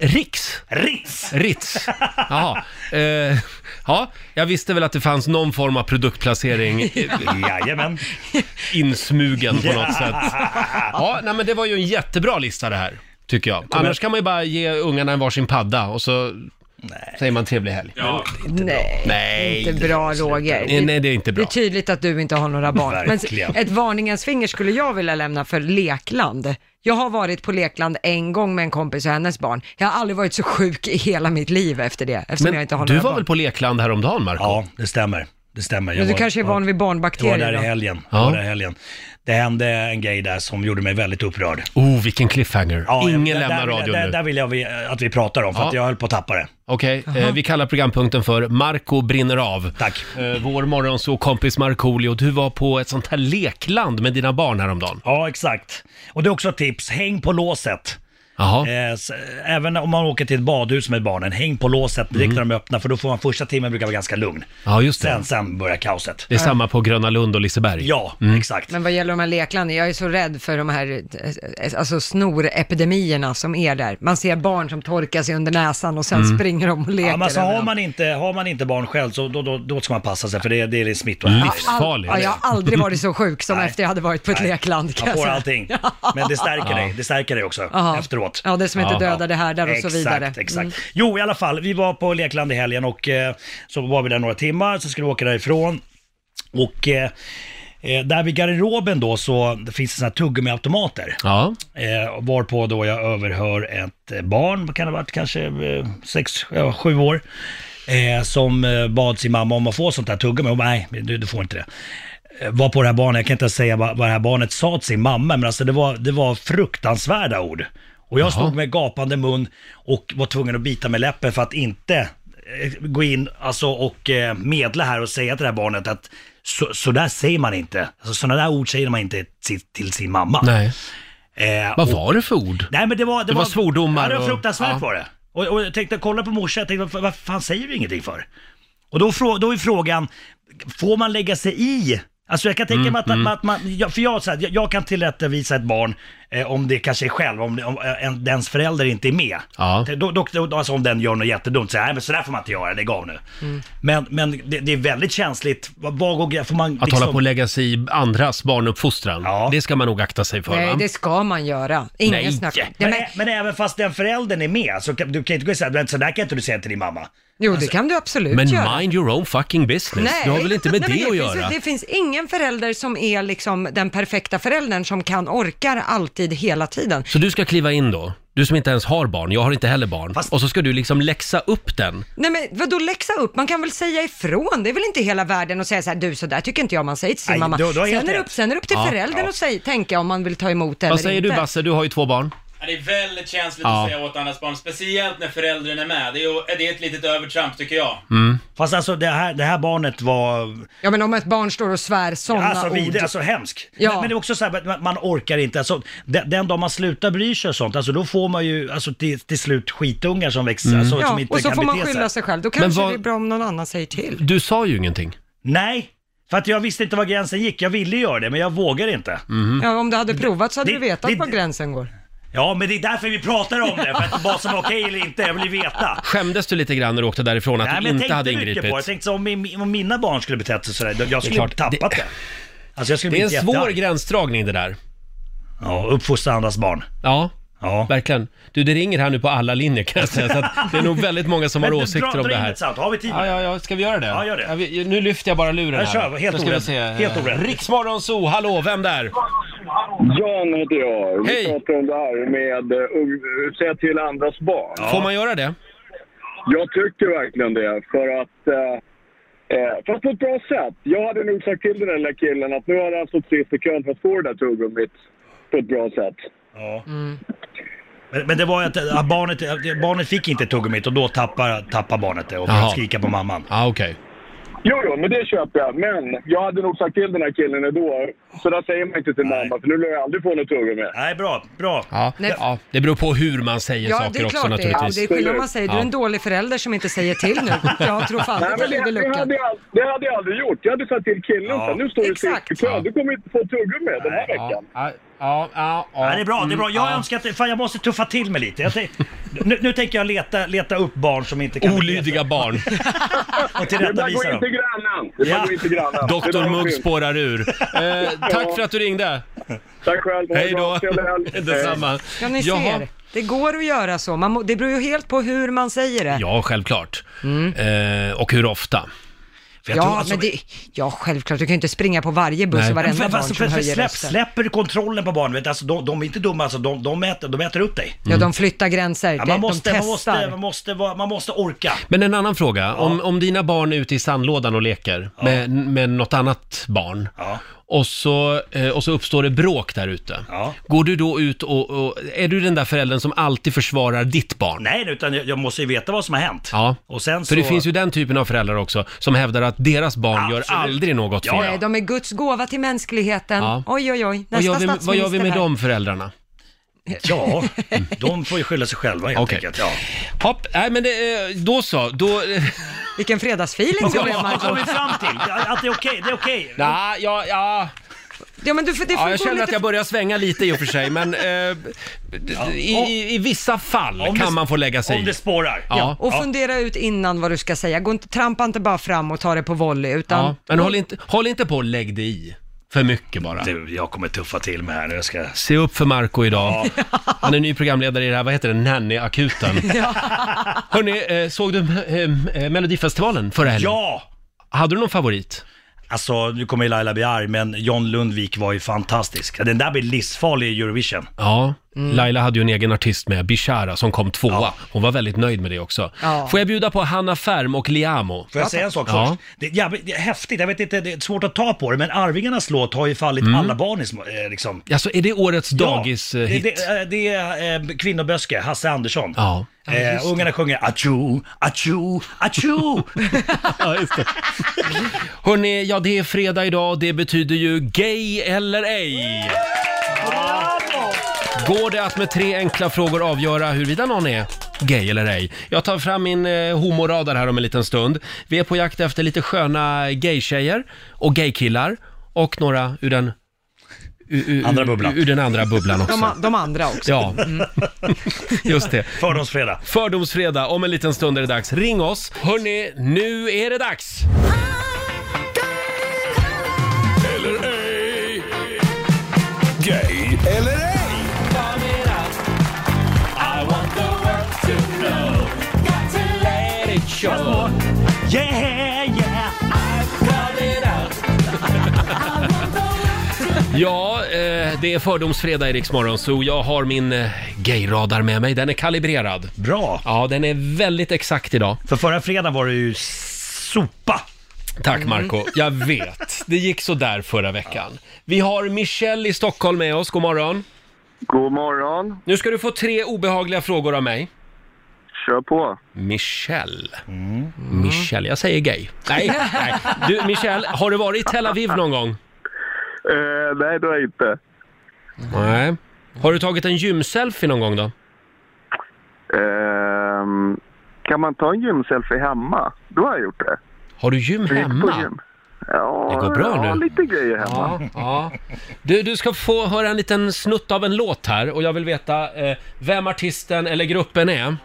Speaker 1: Riks?
Speaker 6: Ritz!
Speaker 1: Ritz. Jaha. Eh, ja, jag visste väl att det fanns någon form av produktplacering i-
Speaker 6: Jajamän.
Speaker 1: insmugen på något sätt. Ja, nej, men det var ju en jättebra lista det här, tycker jag. Annars kan man ju bara ge ungarna en varsin padda och så säger man trevlig helg.
Speaker 2: Nej,
Speaker 1: Nej,
Speaker 2: inte bra Roger.
Speaker 1: Nej, nej, det är inte bra.
Speaker 2: Det är tydligt att du inte har några barn. Men
Speaker 6: Verkligen.
Speaker 2: ett varningens finger skulle jag vilja lämna för lekland. Jag har varit på lekland en gång med en kompis och hennes barn. Jag har aldrig varit så sjuk i hela mitt liv efter det, eftersom jag
Speaker 1: Men
Speaker 2: inte har
Speaker 1: du
Speaker 2: några
Speaker 1: var
Speaker 2: barn.
Speaker 1: väl på Lekland häromdagen, Marco?
Speaker 6: Ja, det stämmer. Det stämmer. Jag
Speaker 2: Men du
Speaker 6: var-
Speaker 2: kanske är van vid
Speaker 6: Jag var
Speaker 2: barnbakterier
Speaker 6: där i
Speaker 2: då?
Speaker 6: helgen.
Speaker 1: Ja.
Speaker 6: Jag var där i helgen. Det hände en grej där som gjorde mig väldigt upprörd.
Speaker 1: Oh, vilken cliffhanger.
Speaker 6: Ja,
Speaker 1: Ingen
Speaker 6: jag- där,
Speaker 1: lämnar
Speaker 6: där,
Speaker 1: radion
Speaker 6: där,
Speaker 1: nu.
Speaker 6: Där vill jag vi, att vi pratar om, för
Speaker 1: Ja.
Speaker 6: att jag höll på att tappa det.
Speaker 1: Okej, eh, vi kallar programpunkten för Marco brinner av.
Speaker 6: Tack.
Speaker 1: Eh, vår morgonsåkompis Markoolio, du var på ett sånt här lekland med dina barn häromdagen.
Speaker 6: Ja, exakt. Och det är också ett tips, häng på låset.
Speaker 1: Jaha.
Speaker 6: Eh, s- även om man åker till ett badhus med barnen, häng på låset direkt när de öppnar, för då får man första timmen brukar vara ganska lugn.
Speaker 1: Mm. Ja, just det.
Speaker 6: Sen, sen börjar kaoset.
Speaker 1: Det är samma på Gröna Lund och Liseberg. Mm.
Speaker 6: Ja, exakt.
Speaker 2: Men vad gäller de här leklanden, jag är så rädd för de här eh, alltså snorepidemierna som är där. Man ser barn som torkar sig under näsan och sen
Speaker 1: Mm.
Speaker 2: springer de och leker.
Speaker 6: Ja, men alltså, har,
Speaker 2: överallt.
Speaker 6: man inte, har man inte barn själv så då, då, då ska man passa sig för det, det är smittor.
Speaker 1: Livsfarligt.
Speaker 2: Ja, jag har aldrig varit så sjuk som
Speaker 6: Nej.
Speaker 2: efter jag hade varit på ett lekland. kan
Speaker 6: Man
Speaker 2: jag
Speaker 6: får
Speaker 2: säga.
Speaker 6: allting. Men det stärker dig, det stärker dig också
Speaker 2: Ja.
Speaker 6: efteråt.
Speaker 2: Ja, det som inte
Speaker 1: Ja.
Speaker 2: dödar det här där och så vidare. Mm.
Speaker 6: Exakt, exakt. Jo, i alla fall, vi var på Lekland i helgen och eh, så var vi där några timmar, så skulle vi åka därifrån. Och eh, eh, där vid garderoben då så det finns det sådana här tuggummiautomater.
Speaker 1: Ja.
Speaker 6: Eh, varpå då jag överhör ett eh, barn, vad kan det ha varit, kanske eh, sex, ja, sju år. Eh, som eh, bad sin mamma om att få sånt där tuggummi. Hon bara, nej, du, du får inte det. Eh, var på det här barnet, jag kan inte ens säga vad, vad det här barnet sa till sin mamma, men alltså det var, det var fruktansvärda ord. Och jag stod med gapande mun och var tvungen att bita med läppen för att inte eh, gå in alltså, och eh, medla här och säga till det här barnet att så, så där säger man inte. Alltså, sådana där ord säger man inte till, till sin mamma.
Speaker 1: Nej.
Speaker 6: Eh,
Speaker 1: Vad var det för ord?
Speaker 6: Nej men det var... Det,
Speaker 1: var svordomar
Speaker 6: Ja, det var
Speaker 1: och-
Speaker 6: fruktansvärt
Speaker 1: ja.
Speaker 6: var det. Och, och jag tänkte kolla på morsan, jag tänkte "Vad- vad fan säger du ingenting för? Och då, frå, då är frågan, får man lägga sig i? Alltså jag kan
Speaker 1: Mm,
Speaker 6: tänka mig att, att man, ja, för jag, så här, jag, jag kan tillrättavisa ett barn eh, om det kanske är själv, om, om eh, en, dens förälder inte är med.
Speaker 1: Ja.
Speaker 6: Då, då, då, alltså om den gör något jättedumt, så, här, nej, men så där får man inte göra, lägg av nu. Men, men det, det är väldigt känsligt, vad, vad går, grä- får man
Speaker 1: Att hålla på och lägga sig i andras barnuppfostran,
Speaker 6: Liksom- Ja.
Speaker 1: det ska man nog akta sig för
Speaker 2: Nej,
Speaker 1: va?
Speaker 2: det ska man göra.
Speaker 1: Nej.
Speaker 2: Ingen snack. Ja,
Speaker 6: Men,
Speaker 2: men,
Speaker 6: ä- men även fast den föräldern är med, så kan, du kan inte gå och säga att sådär kan inte du säga till din mamma. Alltså-
Speaker 2: jo, det kan du absolut
Speaker 1: Men
Speaker 2: göra.
Speaker 1: mind your own fucking business. Du har väl inte med
Speaker 2: Nej, men
Speaker 1: det att
Speaker 2: finns,
Speaker 1: göra?
Speaker 2: Det finns ingen förälder som är liksom den perfekta föräldern som kan orkar alltid hela tiden.
Speaker 1: Så du ska kliva in då? Du som inte ens har barn, jag har inte heller barn.
Speaker 6: Fast-
Speaker 1: Och så ska du liksom läxa upp den.
Speaker 2: Nej men vadå läxa upp? Man kan väl säga ifrån? Det är väl inte hela världen att säga så här, du så där tycker inte jag man säger till sin
Speaker 6: Nej,
Speaker 2: mamma.
Speaker 6: du- du har helt
Speaker 2: sen, är det
Speaker 6: rätt.
Speaker 2: upp, sen är det upp till
Speaker 1: Ja,
Speaker 2: föräldern
Speaker 6: ja.
Speaker 2: att säg, tänka om man vill ta emot det eller
Speaker 1: Vad säger
Speaker 2: inte.
Speaker 1: du Basse? Du har ju två barn.
Speaker 5: Ja, Det är väldigt känsligt
Speaker 1: Ja.
Speaker 5: att säga åt andras barn, speciellt när föräldern är med. Det är, ju- det är ett litet övertramp tycker jag.
Speaker 1: Mm.
Speaker 6: Fast alltså det här, det här barnet var,
Speaker 2: Ja men om ett barn står och svär sådana
Speaker 6: alltså
Speaker 2: ord.
Speaker 6: vidare, alltså hemsk.
Speaker 2: Ja.
Speaker 6: Men, men det är också så här, man, man orkar inte, alltså den, den dag man slutar bry sig och sånt, alltså då får man ju alltså, till, till slut skitungar som växer, alltså, som
Speaker 2: Ja,
Speaker 6: inte
Speaker 2: och så
Speaker 6: kan
Speaker 2: får man
Speaker 6: bete
Speaker 2: skylla
Speaker 6: sig.
Speaker 2: sig själv. Då kanske
Speaker 1: Mm. vad-
Speaker 2: det är bra om någon annan säger till.
Speaker 1: Du sa ju ingenting.
Speaker 6: Nej, För att jag visste inte var gränsen gick. Jag ville göra det, men jag vågar inte.
Speaker 1: Mm-hmm.
Speaker 2: Ja, om du hade provat så hade
Speaker 6: Det-
Speaker 2: du vetat
Speaker 6: det-
Speaker 2: var gränsen går.
Speaker 6: Ja, men det är därför vi pratar om det. För att vad som är okej eller inte, jag vill ju veta.
Speaker 1: Skämdes du lite grann när du åkte därifrån att
Speaker 6: Nej,
Speaker 1: du
Speaker 6: men jag
Speaker 1: inte
Speaker 6: tänkte
Speaker 1: hade
Speaker 6: mycket
Speaker 1: ingripit?
Speaker 6: på det. Jag tänkte så, om, min- om mina barn skulle betett sig sådär, då- jag skulle
Speaker 1: klart,
Speaker 6: ha tappat det. Alltså jag skulle
Speaker 1: Det är
Speaker 6: bli
Speaker 1: en svår
Speaker 6: jättearg.
Speaker 1: gränsdragning det där.
Speaker 6: Ja, uppfostra andras barn.
Speaker 1: Ja,
Speaker 6: Ja.
Speaker 1: verkligen. Du, det ringer här nu på alla linjer kan jag säga, så att det är nog väldigt många som har
Speaker 6: Men
Speaker 1: åsikter
Speaker 6: dra,
Speaker 1: om
Speaker 6: dra
Speaker 1: det
Speaker 6: in
Speaker 1: här.
Speaker 6: ett samtal, har vi tid?
Speaker 1: Ja, ja, ja, ska vi göra det?
Speaker 6: Ja, gör det.
Speaker 1: vi, nu lyfter jag bara luren
Speaker 6: Jag
Speaker 1: här.
Speaker 6: kör, helt
Speaker 1: Då ska vi
Speaker 6: orädd.
Speaker 1: se. eh,
Speaker 6: Helt orädd.
Speaker 1: Riksmorgon Zoo, hallå, vem där?
Speaker 10: Jan heter jag. Vi
Speaker 1: Hej.
Speaker 10: pratar om det här med att säga till andras barn.
Speaker 1: Får man göra det?
Speaker 10: Jag tycker verkligen det. För att, eh, eh, fast på ett bra sätt. Jag hade nog sagt till den där lilla killen att nu har han stått sist i kön för att få det där tuggummit på ett bra sätt.
Speaker 6: Ja.
Speaker 11: Mm.
Speaker 6: Men, men det var ju att att barnet, att barnet fick inte tuggummit och då tappar, tappar barnet det och börjar
Speaker 1: Jaha.
Speaker 6: skrika på mamman.
Speaker 1: Ja, okej.
Speaker 10: Jo, jo, men det köper jag. Men jag hade nog sagt till den här killen ändå. Så där säger man inte till mamma, för nu lär jag aldrig få något tuggummi.
Speaker 6: Nej, bra, bra.
Speaker 1: Ja.
Speaker 2: Nej.
Speaker 1: ja, det beror på hur man säger
Speaker 2: Ja, det
Speaker 1: saker
Speaker 2: är
Speaker 1: också
Speaker 2: klart det är.
Speaker 1: naturligtvis.
Speaker 2: Det är skillnad om man säger, du är en
Speaker 1: Ja.
Speaker 2: dålig förälder som inte säger till nu. Jag tror fan
Speaker 10: Nej,
Speaker 2: att
Speaker 10: men
Speaker 2: du
Speaker 10: det, det,
Speaker 2: luckan.
Speaker 10: hade jag, ald- det hade jag aldrig gjort. Jag hade sagt till killen
Speaker 6: Ja.
Speaker 10: ja. nu står du
Speaker 2: Exakt.
Speaker 10: sist i kön. Du kommer inte få tuggummi den här
Speaker 1: Ja,
Speaker 10: veckan.
Speaker 1: ja, ja, ja,
Speaker 6: Ja, det är bra, det är bra. Jag
Speaker 1: Mm,
Speaker 6: önskar att, fan jag måste tuffa till mig lite. Jag tänk, nu, nu tänker jag leta, leta upp barn som inte kan
Speaker 1: Olydiga barn.
Speaker 6: och
Speaker 10: Det är bara
Speaker 6: tillrättavisa
Speaker 10: gå in till
Speaker 6: dem.
Speaker 10: grannen. Det är bara
Speaker 6: Ja.
Speaker 10: gå in till grannen. Det är
Speaker 1: Doktor
Speaker 10: bara
Speaker 1: Mugg
Speaker 10: skymt.
Speaker 1: spårar ur. Eh, tack för att du ringde.
Speaker 10: Tack själv. Ha det
Speaker 1: Hej
Speaker 10: bra.
Speaker 1: då.
Speaker 10: Trevlig helg. Hej.
Speaker 1: Detsamma.
Speaker 2: Ja, ni
Speaker 1: Jaha.
Speaker 2: ser. Det går att göra så. Man må, det beror ju helt på hur man säger det.
Speaker 1: Ja, självklart.
Speaker 2: Mm.
Speaker 1: Eh, och hur ofta.
Speaker 6: För jag tror
Speaker 2: Ja,
Speaker 6: alltså-
Speaker 2: men det, ja, självklart. Du kan ju inte springa på varje buss
Speaker 1: Nej.
Speaker 2: och varenda
Speaker 6: För,
Speaker 2: barn
Speaker 6: för,
Speaker 2: som
Speaker 6: för, för
Speaker 2: höjer
Speaker 6: släpp,
Speaker 2: rösten.
Speaker 6: släpper du kontrollen på barnen, vet, du, alltså, de, de är inte dumma, alltså, de, de, äter, de äter upp dig.
Speaker 1: Mm.
Speaker 2: Ja, de flyttar gränser.
Speaker 6: Ja,
Speaker 2: Det-
Speaker 6: man, måste,
Speaker 2: de
Speaker 6: man,
Speaker 2: testar.
Speaker 6: måste, man, måste, vara- man måste orka.
Speaker 1: Men en annan fråga. Om, om dina barn är ute i sandlådan och leker med, med något annat barn
Speaker 6: Ja.
Speaker 1: och, så, eh, och så uppstår det bråk där ute.
Speaker 6: Ja.
Speaker 1: Går du då ut och, och... Är du den där föräldern som alltid försvarar ditt barn?
Speaker 6: Nej, utan jag, jag måste ju veta vad som har hänt.
Speaker 1: Ja.
Speaker 6: Och sen så...
Speaker 1: För det finns ju den typen av föräldrar också som hävdar att deras barn
Speaker 6: Absolut.
Speaker 1: gör aldrig något
Speaker 6: Ja,
Speaker 1: fel.
Speaker 2: Nej, de är Guds gåva till mänskligheten.
Speaker 1: Ja.
Speaker 2: Oj, oj, oj. Nästa
Speaker 1: Vad gör, vi, vad gör vi
Speaker 2: statsminister
Speaker 1: med
Speaker 2: här.
Speaker 1: de föräldrarna?
Speaker 6: Ja, de får ju skylla sig själva helt
Speaker 1: Okej.
Speaker 6: enkelt. Ja.
Speaker 1: Hopp, nej men det, eh, då så. Då,
Speaker 2: Vilken fredagsfeeling du blev,
Speaker 6: Vad kom vi
Speaker 2: Marco.
Speaker 6: fram till? Ja, Att det är okej, det är okej.
Speaker 1: nah, ja, ja,
Speaker 2: Ja, men du, får- det får
Speaker 1: ja,
Speaker 2: gå
Speaker 1: jag känner
Speaker 2: lite
Speaker 1: att jag börjar svänga lite i och för sig, men eh, d- i, i, i vissa fall
Speaker 6: Om det-
Speaker 1: kan man få lägga sig
Speaker 6: Om
Speaker 1: i.
Speaker 6: det spårar.
Speaker 1: Ja.
Speaker 2: Och fundera ut innan vad du ska säga. Gå inte, trampa inte bara fram och ta det på volley, utan
Speaker 1: Ja, men håll inte, håll inte på och lägg dig i för mycket bara.
Speaker 6: Du, jag kommer tuffa till mig här nu. Jag ska...
Speaker 1: Se upp för Marco idag. Han är ny programledare i det här, vad heter det, Nanny-akuten. Hörni, eh, såg du eh, eh, Melodifestivalen förra helgen?
Speaker 6: Ja!
Speaker 1: Hade du någon favorit?
Speaker 6: Alltså, nu kommer ju Laila bli arg, men John Lundvik var ju fantastisk. Den där blir livsfarlig i Eurovision.
Speaker 1: Ja, Laila hade ju en egen artist med, Bishara, som kom tvåa.
Speaker 6: Mm. Ja.
Speaker 1: Hon var väldigt nöjd med det också.
Speaker 2: Ja.
Speaker 1: Får jag bjuda på Hanna Färm och Liamo?
Speaker 6: Får jag säga en sak
Speaker 1: Ja.
Speaker 6: först? Det är, jävligt, det är häftigt, jag vet inte, det är svårt att ta på det, men Arvingarnas låt har ju fallit alla barn i små- eh, liksom.
Speaker 1: Alltså, Mm. är det årets
Speaker 6: ja, det,
Speaker 1: dagishit?
Speaker 6: det, eh, det är eh, Kvinnoböske, Hasse Andersson.
Speaker 1: Ja.
Speaker 6: Eh, ungarna sjunger atjo, atjo, atjo.
Speaker 1: Ja, just det. Hörni, ja det är fredag idag det betyder ju gay eller ej. Går det att med tre enkla frågor avgöra huruvida någon är gay eller ej? Jag tar fram min eh, homoradar här om en liten stund. Vi är på jakt efter lite sköna gaytjejer och gaykillar och några ur den, ur, ur,
Speaker 6: Andra bubblan.
Speaker 1: Ur, ur den andra bubblan också.
Speaker 2: de, a- de andra också.
Speaker 1: Ja, Mm. just det.
Speaker 6: Mm. Fördomsfredag.
Speaker 1: Fördomsfredag, om en liten stund är det dags. Ring oss! Hörni, nu är det dags!
Speaker 4: Gay eller ej?
Speaker 6: Yeah, yeah.
Speaker 1: Ja, eh, det är fördomsfredag i Rix Morgon, så jag har min eh, gayradar med mig. Den är kalibrerad.
Speaker 6: Bra.
Speaker 1: Ja, den är väldigt exakt idag.
Speaker 6: För förra fredagen var det ju sopa.
Speaker 1: Tack Marco. Jag vet, det gick så där förra veckan. Vi har Michelle i Stockholm med oss, god morgon.
Speaker 10: God morgon.
Speaker 1: Nu ska du få tre obehagliga frågor av mig.
Speaker 10: Kör på.
Speaker 1: Michelle.
Speaker 6: Mm.
Speaker 1: Michelle, jag säger gay. Nej, nej. Du Michelle, har du varit i Tel Aviv någon gång?
Speaker 10: Eh, nej, det har jag inte.
Speaker 1: Nej. Har du tagit en gymselfie någon gång då?
Speaker 10: Ehm, kan man ta en gymselfie hemma? Då har jag gjort det.
Speaker 1: Har du gym
Speaker 10: Jag gick på
Speaker 1: hemma?
Speaker 10: gym.
Speaker 12: Ja,
Speaker 1: Det går bra
Speaker 12: ja,
Speaker 1: nu.
Speaker 12: lite grejer hemma.
Speaker 1: Ja, ja. Du, du ska få höra en liten snutt av en låt här och jag vill veta eh, vem artisten eller gruppen är.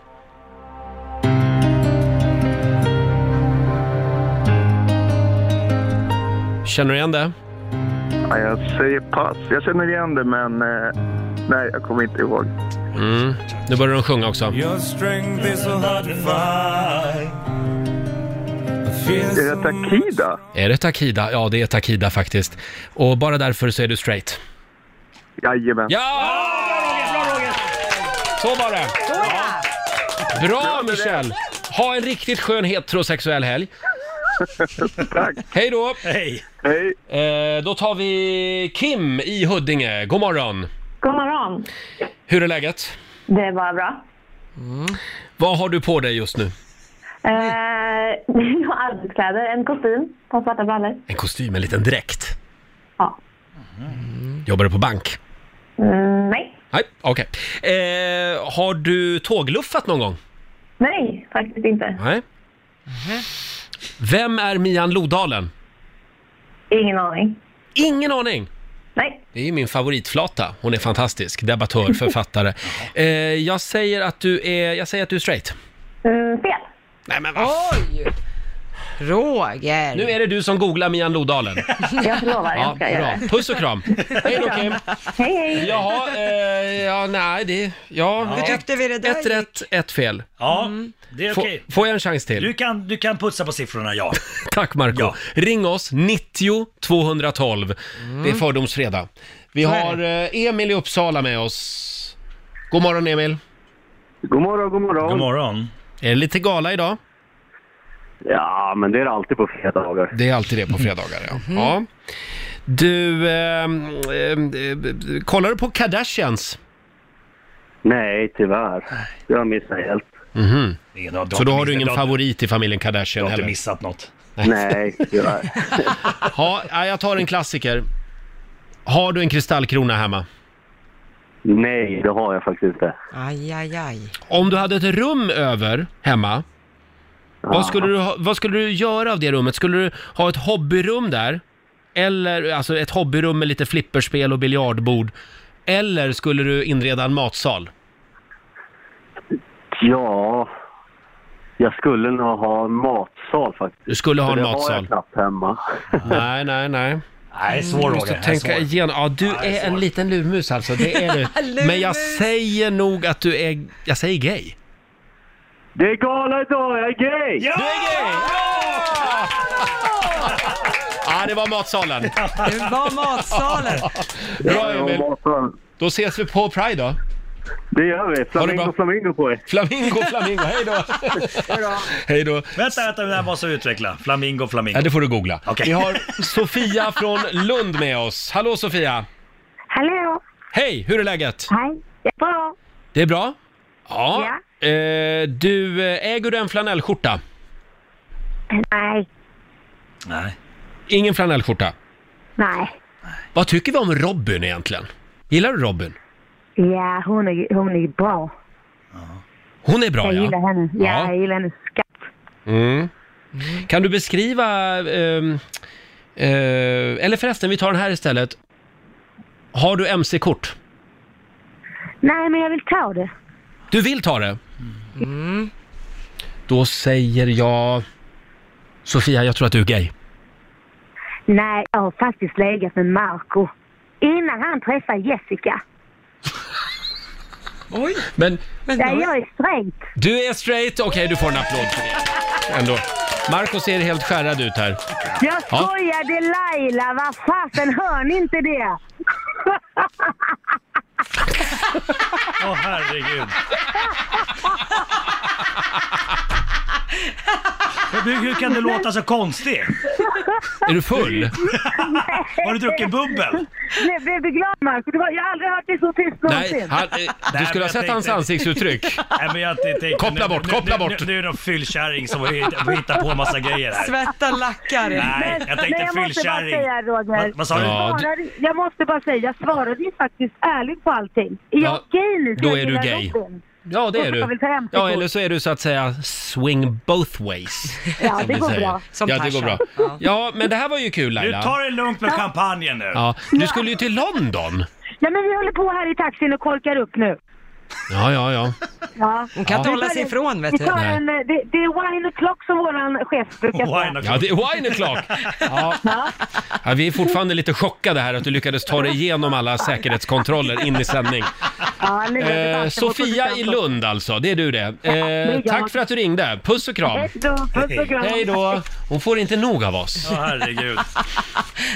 Speaker 1: Känner du igen det?
Speaker 12: Ja, jag säger pass. Jag känner igen det, men eh, nej, jag kommer inte ihåg.
Speaker 1: Mm. Nu börjar de sjunga också.
Speaker 13: Your strength is so hard to find.
Speaker 12: Är det Takida?
Speaker 1: Är det Takida? Ja, det är Takida faktiskt. Och bara därför så är du straight.
Speaker 12: Jajamän.
Speaker 1: Ja! Så var det! Bra Michel! Ha en riktigt skön heterosexuell helg.
Speaker 12: Tack.
Speaker 1: Hej då!
Speaker 6: Hej!
Speaker 12: Hej.
Speaker 1: Eh, då tar vi Kim i Huddinge. God morgon!
Speaker 7: God morgon.
Speaker 1: Hur är läget?
Speaker 7: Det var bra.
Speaker 1: Vad har du på dig just nu? Mm.
Speaker 7: Eh, jag har arbetskläder, en kostym, på svarta brallor.
Speaker 1: En kostym, en liten dräkt.
Speaker 7: Ja.
Speaker 1: Jobbar du på bank?
Speaker 7: Mm, nej.
Speaker 1: Nej, okej. Eh, har du tågluffat någon gång?
Speaker 7: Nej, faktiskt inte.
Speaker 1: Nej. Vem är Mian Lodalen?
Speaker 7: Ingen aning.
Speaker 1: Ingen aning!
Speaker 7: Nej.
Speaker 1: Det är ju min favoritflata. Hon är fantastisk. Debattör, författare. Eh, jag, säger att du är, jag säger att du är straight.
Speaker 7: Mm, fel.
Speaker 1: Nej men vad
Speaker 2: Oj! Roger!
Speaker 1: Nu är det du som googlar Mian Lodalen.
Speaker 7: Jag lovar, jag ska göra
Speaker 1: bra.
Speaker 7: det.
Speaker 1: Puss och kram. Hej då Kim.
Speaker 7: Hej, hej.
Speaker 1: Jaha, eh, ja nej det... Ja,
Speaker 2: Hur tyckte vi det där
Speaker 1: ett rätt, ett fel.
Speaker 6: Ja, det är
Speaker 1: Få,
Speaker 6: okej.
Speaker 1: Får jag en chans till?
Speaker 6: Du, kan, du kan putsa på siffrorna, ja.
Speaker 1: Tack Marco.
Speaker 6: Ja.
Speaker 1: Ring oss, 90 212. Det
Speaker 6: Mm.
Speaker 1: är fördomsfredag. Vi
Speaker 2: är
Speaker 1: har eh, Emil i Uppsala med oss. God morgon Emil.
Speaker 12: God morgon, god morgon.
Speaker 6: God morgon.
Speaker 1: Är det lite gala idag?
Speaker 12: Ja, men det är det alltid på fredagar.
Speaker 1: Det är alltid det på fredagar ja.
Speaker 6: Mm.
Speaker 1: ja. Du, ehm, ehm, eh, kollar du på Kardashians?
Speaker 12: Nej, tyvärr. Jag har missat helt.
Speaker 6: Ingen- har
Speaker 1: Mhm. Så då
Speaker 6: inte
Speaker 1: har du
Speaker 6: missat-
Speaker 1: ingen
Speaker 6: har-
Speaker 1: favorit i familjen
Speaker 6: Du
Speaker 1: Kardashian
Speaker 6: har inte
Speaker 1: heller?
Speaker 6: missat något.
Speaker 12: Nej, tyvärr.
Speaker 1: Ja, nej, jag tar en klassiker. Har du en kristallkrona hemma?
Speaker 12: Nej, det har jag faktiskt inte.
Speaker 2: Aj, aj, aj.
Speaker 1: Om du hade ett rum över hemma, vad, skulle du ha, vad skulle du göra av det rummet? Skulle du ha ett hobbyrum där? Eller, alltså ett hobbyrum med lite flipperspel och biljardbord. Eller skulle du inreda en matsal?
Speaker 12: Ja, jag skulle nog ha en matsal faktiskt.
Speaker 1: Du skulle ha
Speaker 12: För
Speaker 1: en
Speaker 12: det har jag
Speaker 1: matsal.
Speaker 12: knappt hemma.
Speaker 1: Nej, nej, nej.
Speaker 6: Nej, svår
Speaker 1: Du
Speaker 6: Roger.
Speaker 1: måste
Speaker 6: Den här är
Speaker 1: tänka
Speaker 6: svår.
Speaker 1: igen. Ja, du
Speaker 6: det är
Speaker 1: är en
Speaker 6: svårt.
Speaker 1: liten lurmus alltså, det är du.
Speaker 2: Lurmus.
Speaker 1: Men jag säger nog att du är, jag säger gay.
Speaker 12: Det är gala idag, jag är gay!
Speaker 6: Ja!
Speaker 1: Du är gay! Ja! Ja, det var matsalen.
Speaker 2: Det var matsalen.
Speaker 1: Bra
Speaker 12: Jag har
Speaker 1: Emil.
Speaker 12: matsal.
Speaker 1: Då ses vi på Pride då.
Speaker 12: Det gör vi.
Speaker 1: bra.
Speaker 12: Flamingo, flamingo på er.
Speaker 1: Flamingo, flamingo, hej då! Hej då!
Speaker 6: Vänta, vänta, det här måste vi utveckla. Flamingo, flamingo.
Speaker 1: Ja, det får du googla.
Speaker 6: Okej.
Speaker 1: Vi har Sofia från Lund med oss. Hallå Sofia!
Speaker 7: Hallå.
Speaker 1: Hej, hur är läget?
Speaker 7: Hej. Bra.
Speaker 1: Det är bra? Ja. Eh, du, eh, äger du en flanellskjorta?
Speaker 7: Nej.
Speaker 6: Nej.
Speaker 1: Ingen flanellskjorta.
Speaker 7: Nej.
Speaker 1: Vad tycker vi om Robin egentligen? Gillar du Robin?
Speaker 7: Ja, hon är, hon är bra.
Speaker 1: Hon är bra
Speaker 7: Jag gillar
Speaker 1: ja.
Speaker 7: henne. Ja,
Speaker 1: Ja.
Speaker 7: jag gillar hennes skatt.
Speaker 1: Mm. Kan du beskriva, ehm, eh, eller förresten vi tar den här istället. Har du mc-kort?
Speaker 7: Nej, men jag vill ta det.
Speaker 1: Du vill ta det? Då säger jag... Sofia, jag tror att du är gay.
Speaker 7: Nej, jag har faktiskt legat med Marco. Innan han träffade Jessica.
Speaker 2: Oj!
Speaker 1: Men
Speaker 2: Men
Speaker 7: Ja,
Speaker 2: då,
Speaker 7: jag är straight.
Speaker 1: du är straight, okej du får en applåd för det. Ändå. Marco ser helt skärrad ut här.
Speaker 7: Jag skojade Laila, vad fasen hör ni inte det?
Speaker 6: Åh herregud. Hur, hur kan du låta så konstig?
Speaker 1: Är du full?
Speaker 6: Har du druckit bubbel?
Speaker 7: Nej, blev du glad Marco? Du har, jag har aldrig hört dig så tyst
Speaker 1: Nej,
Speaker 7: någonsin.
Speaker 1: han, eh, du
Speaker 6: men
Speaker 1: skulle ha
Speaker 6: jag
Speaker 1: sett hans
Speaker 6: tänkte-
Speaker 1: ansiktsuttryck.
Speaker 6: Nej, men jag tänkte,
Speaker 1: Koppla bort,
Speaker 6: nu,
Speaker 1: koppla
Speaker 6: nu,
Speaker 1: bort.
Speaker 6: Nu, nu är det någon fyllkärring som hittar hittar på massa grejer här.
Speaker 2: Svetta lackar.
Speaker 6: Nej, jag
Speaker 7: Men
Speaker 6: tänkte
Speaker 7: jag måste bara
Speaker 6: fyllkärring.
Speaker 7: säga Roger.
Speaker 6: Vad, vad sa du?
Speaker 1: Ja.
Speaker 7: Jag svarade- Jag måste bara säga, jag svarade ju faktiskt ärligt på allting. Är
Speaker 1: Ja,
Speaker 7: jag gay nu? för
Speaker 1: då
Speaker 7: jag
Speaker 1: är du
Speaker 7: gillar
Speaker 1: gay.
Speaker 7: Robin?
Speaker 1: Ja, det är
Speaker 2: Jag
Speaker 1: du.
Speaker 2: vill ta hem
Speaker 1: Ja,
Speaker 2: Sigurd.
Speaker 1: eller så är du så att säga swing both ways.
Speaker 2: Ja,
Speaker 1: som
Speaker 2: det
Speaker 1: vi
Speaker 2: går
Speaker 1: säger.
Speaker 2: bra. Som
Speaker 1: ja, det går
Speaker 2: Tarzan.
Speaker 1: bra. Ja, men det här var ju kul
Speaker 6: Du
Speaker 1: Laila.
Speaker 6: tar det lugnt med champagnen nu.
Speaker 1: Ja, du skulle ju till London.
Speaker 14: Nej men vi håller på här i taxin och korkar upp nu.
Speaker 1: Ja, ja, ja.
Speaker 14: Ja.
Speaker 1: Hon kan inte
Speaker 14: Vi
Speaker 1: hålla
Speaker 14: tar
Speaker 1: sig
Speaker 14: en-
Speaker 1: ifrån, vet
Speaker 14: vi
Speaker 1: du.
Speaker 14: tar
Speaker 1: Nej.
Speaker 14: En, eh, det, det är wine o'clock som våran chef brukar säga.
Speaker 1: Ja, det är wine o'clock. Ja. Ja, vi är fortfarande lite chockade här att du lyckades ta dig igenom alla säkerhetskontroller in i sändning.
Speaker 14: Ja, nu är det
Speaker 1: Eh,
Speaker 14: dags. Jag måste
Speaker 1: Sofia
Speaker 14: bestämma.
Speaker 1: i Lund alltså, det är du det.
Speaker 14: Ja, det är
Speaker 1: Eh,
Speaker 14: jag.
Speaker 1: tack för att du ringde, puss och kram.
Speaker 14: Hej då, puss och kram.
Speaker 1: Hej då. Hon får inte nog av oss.
Speaker 6: Ja, herregud.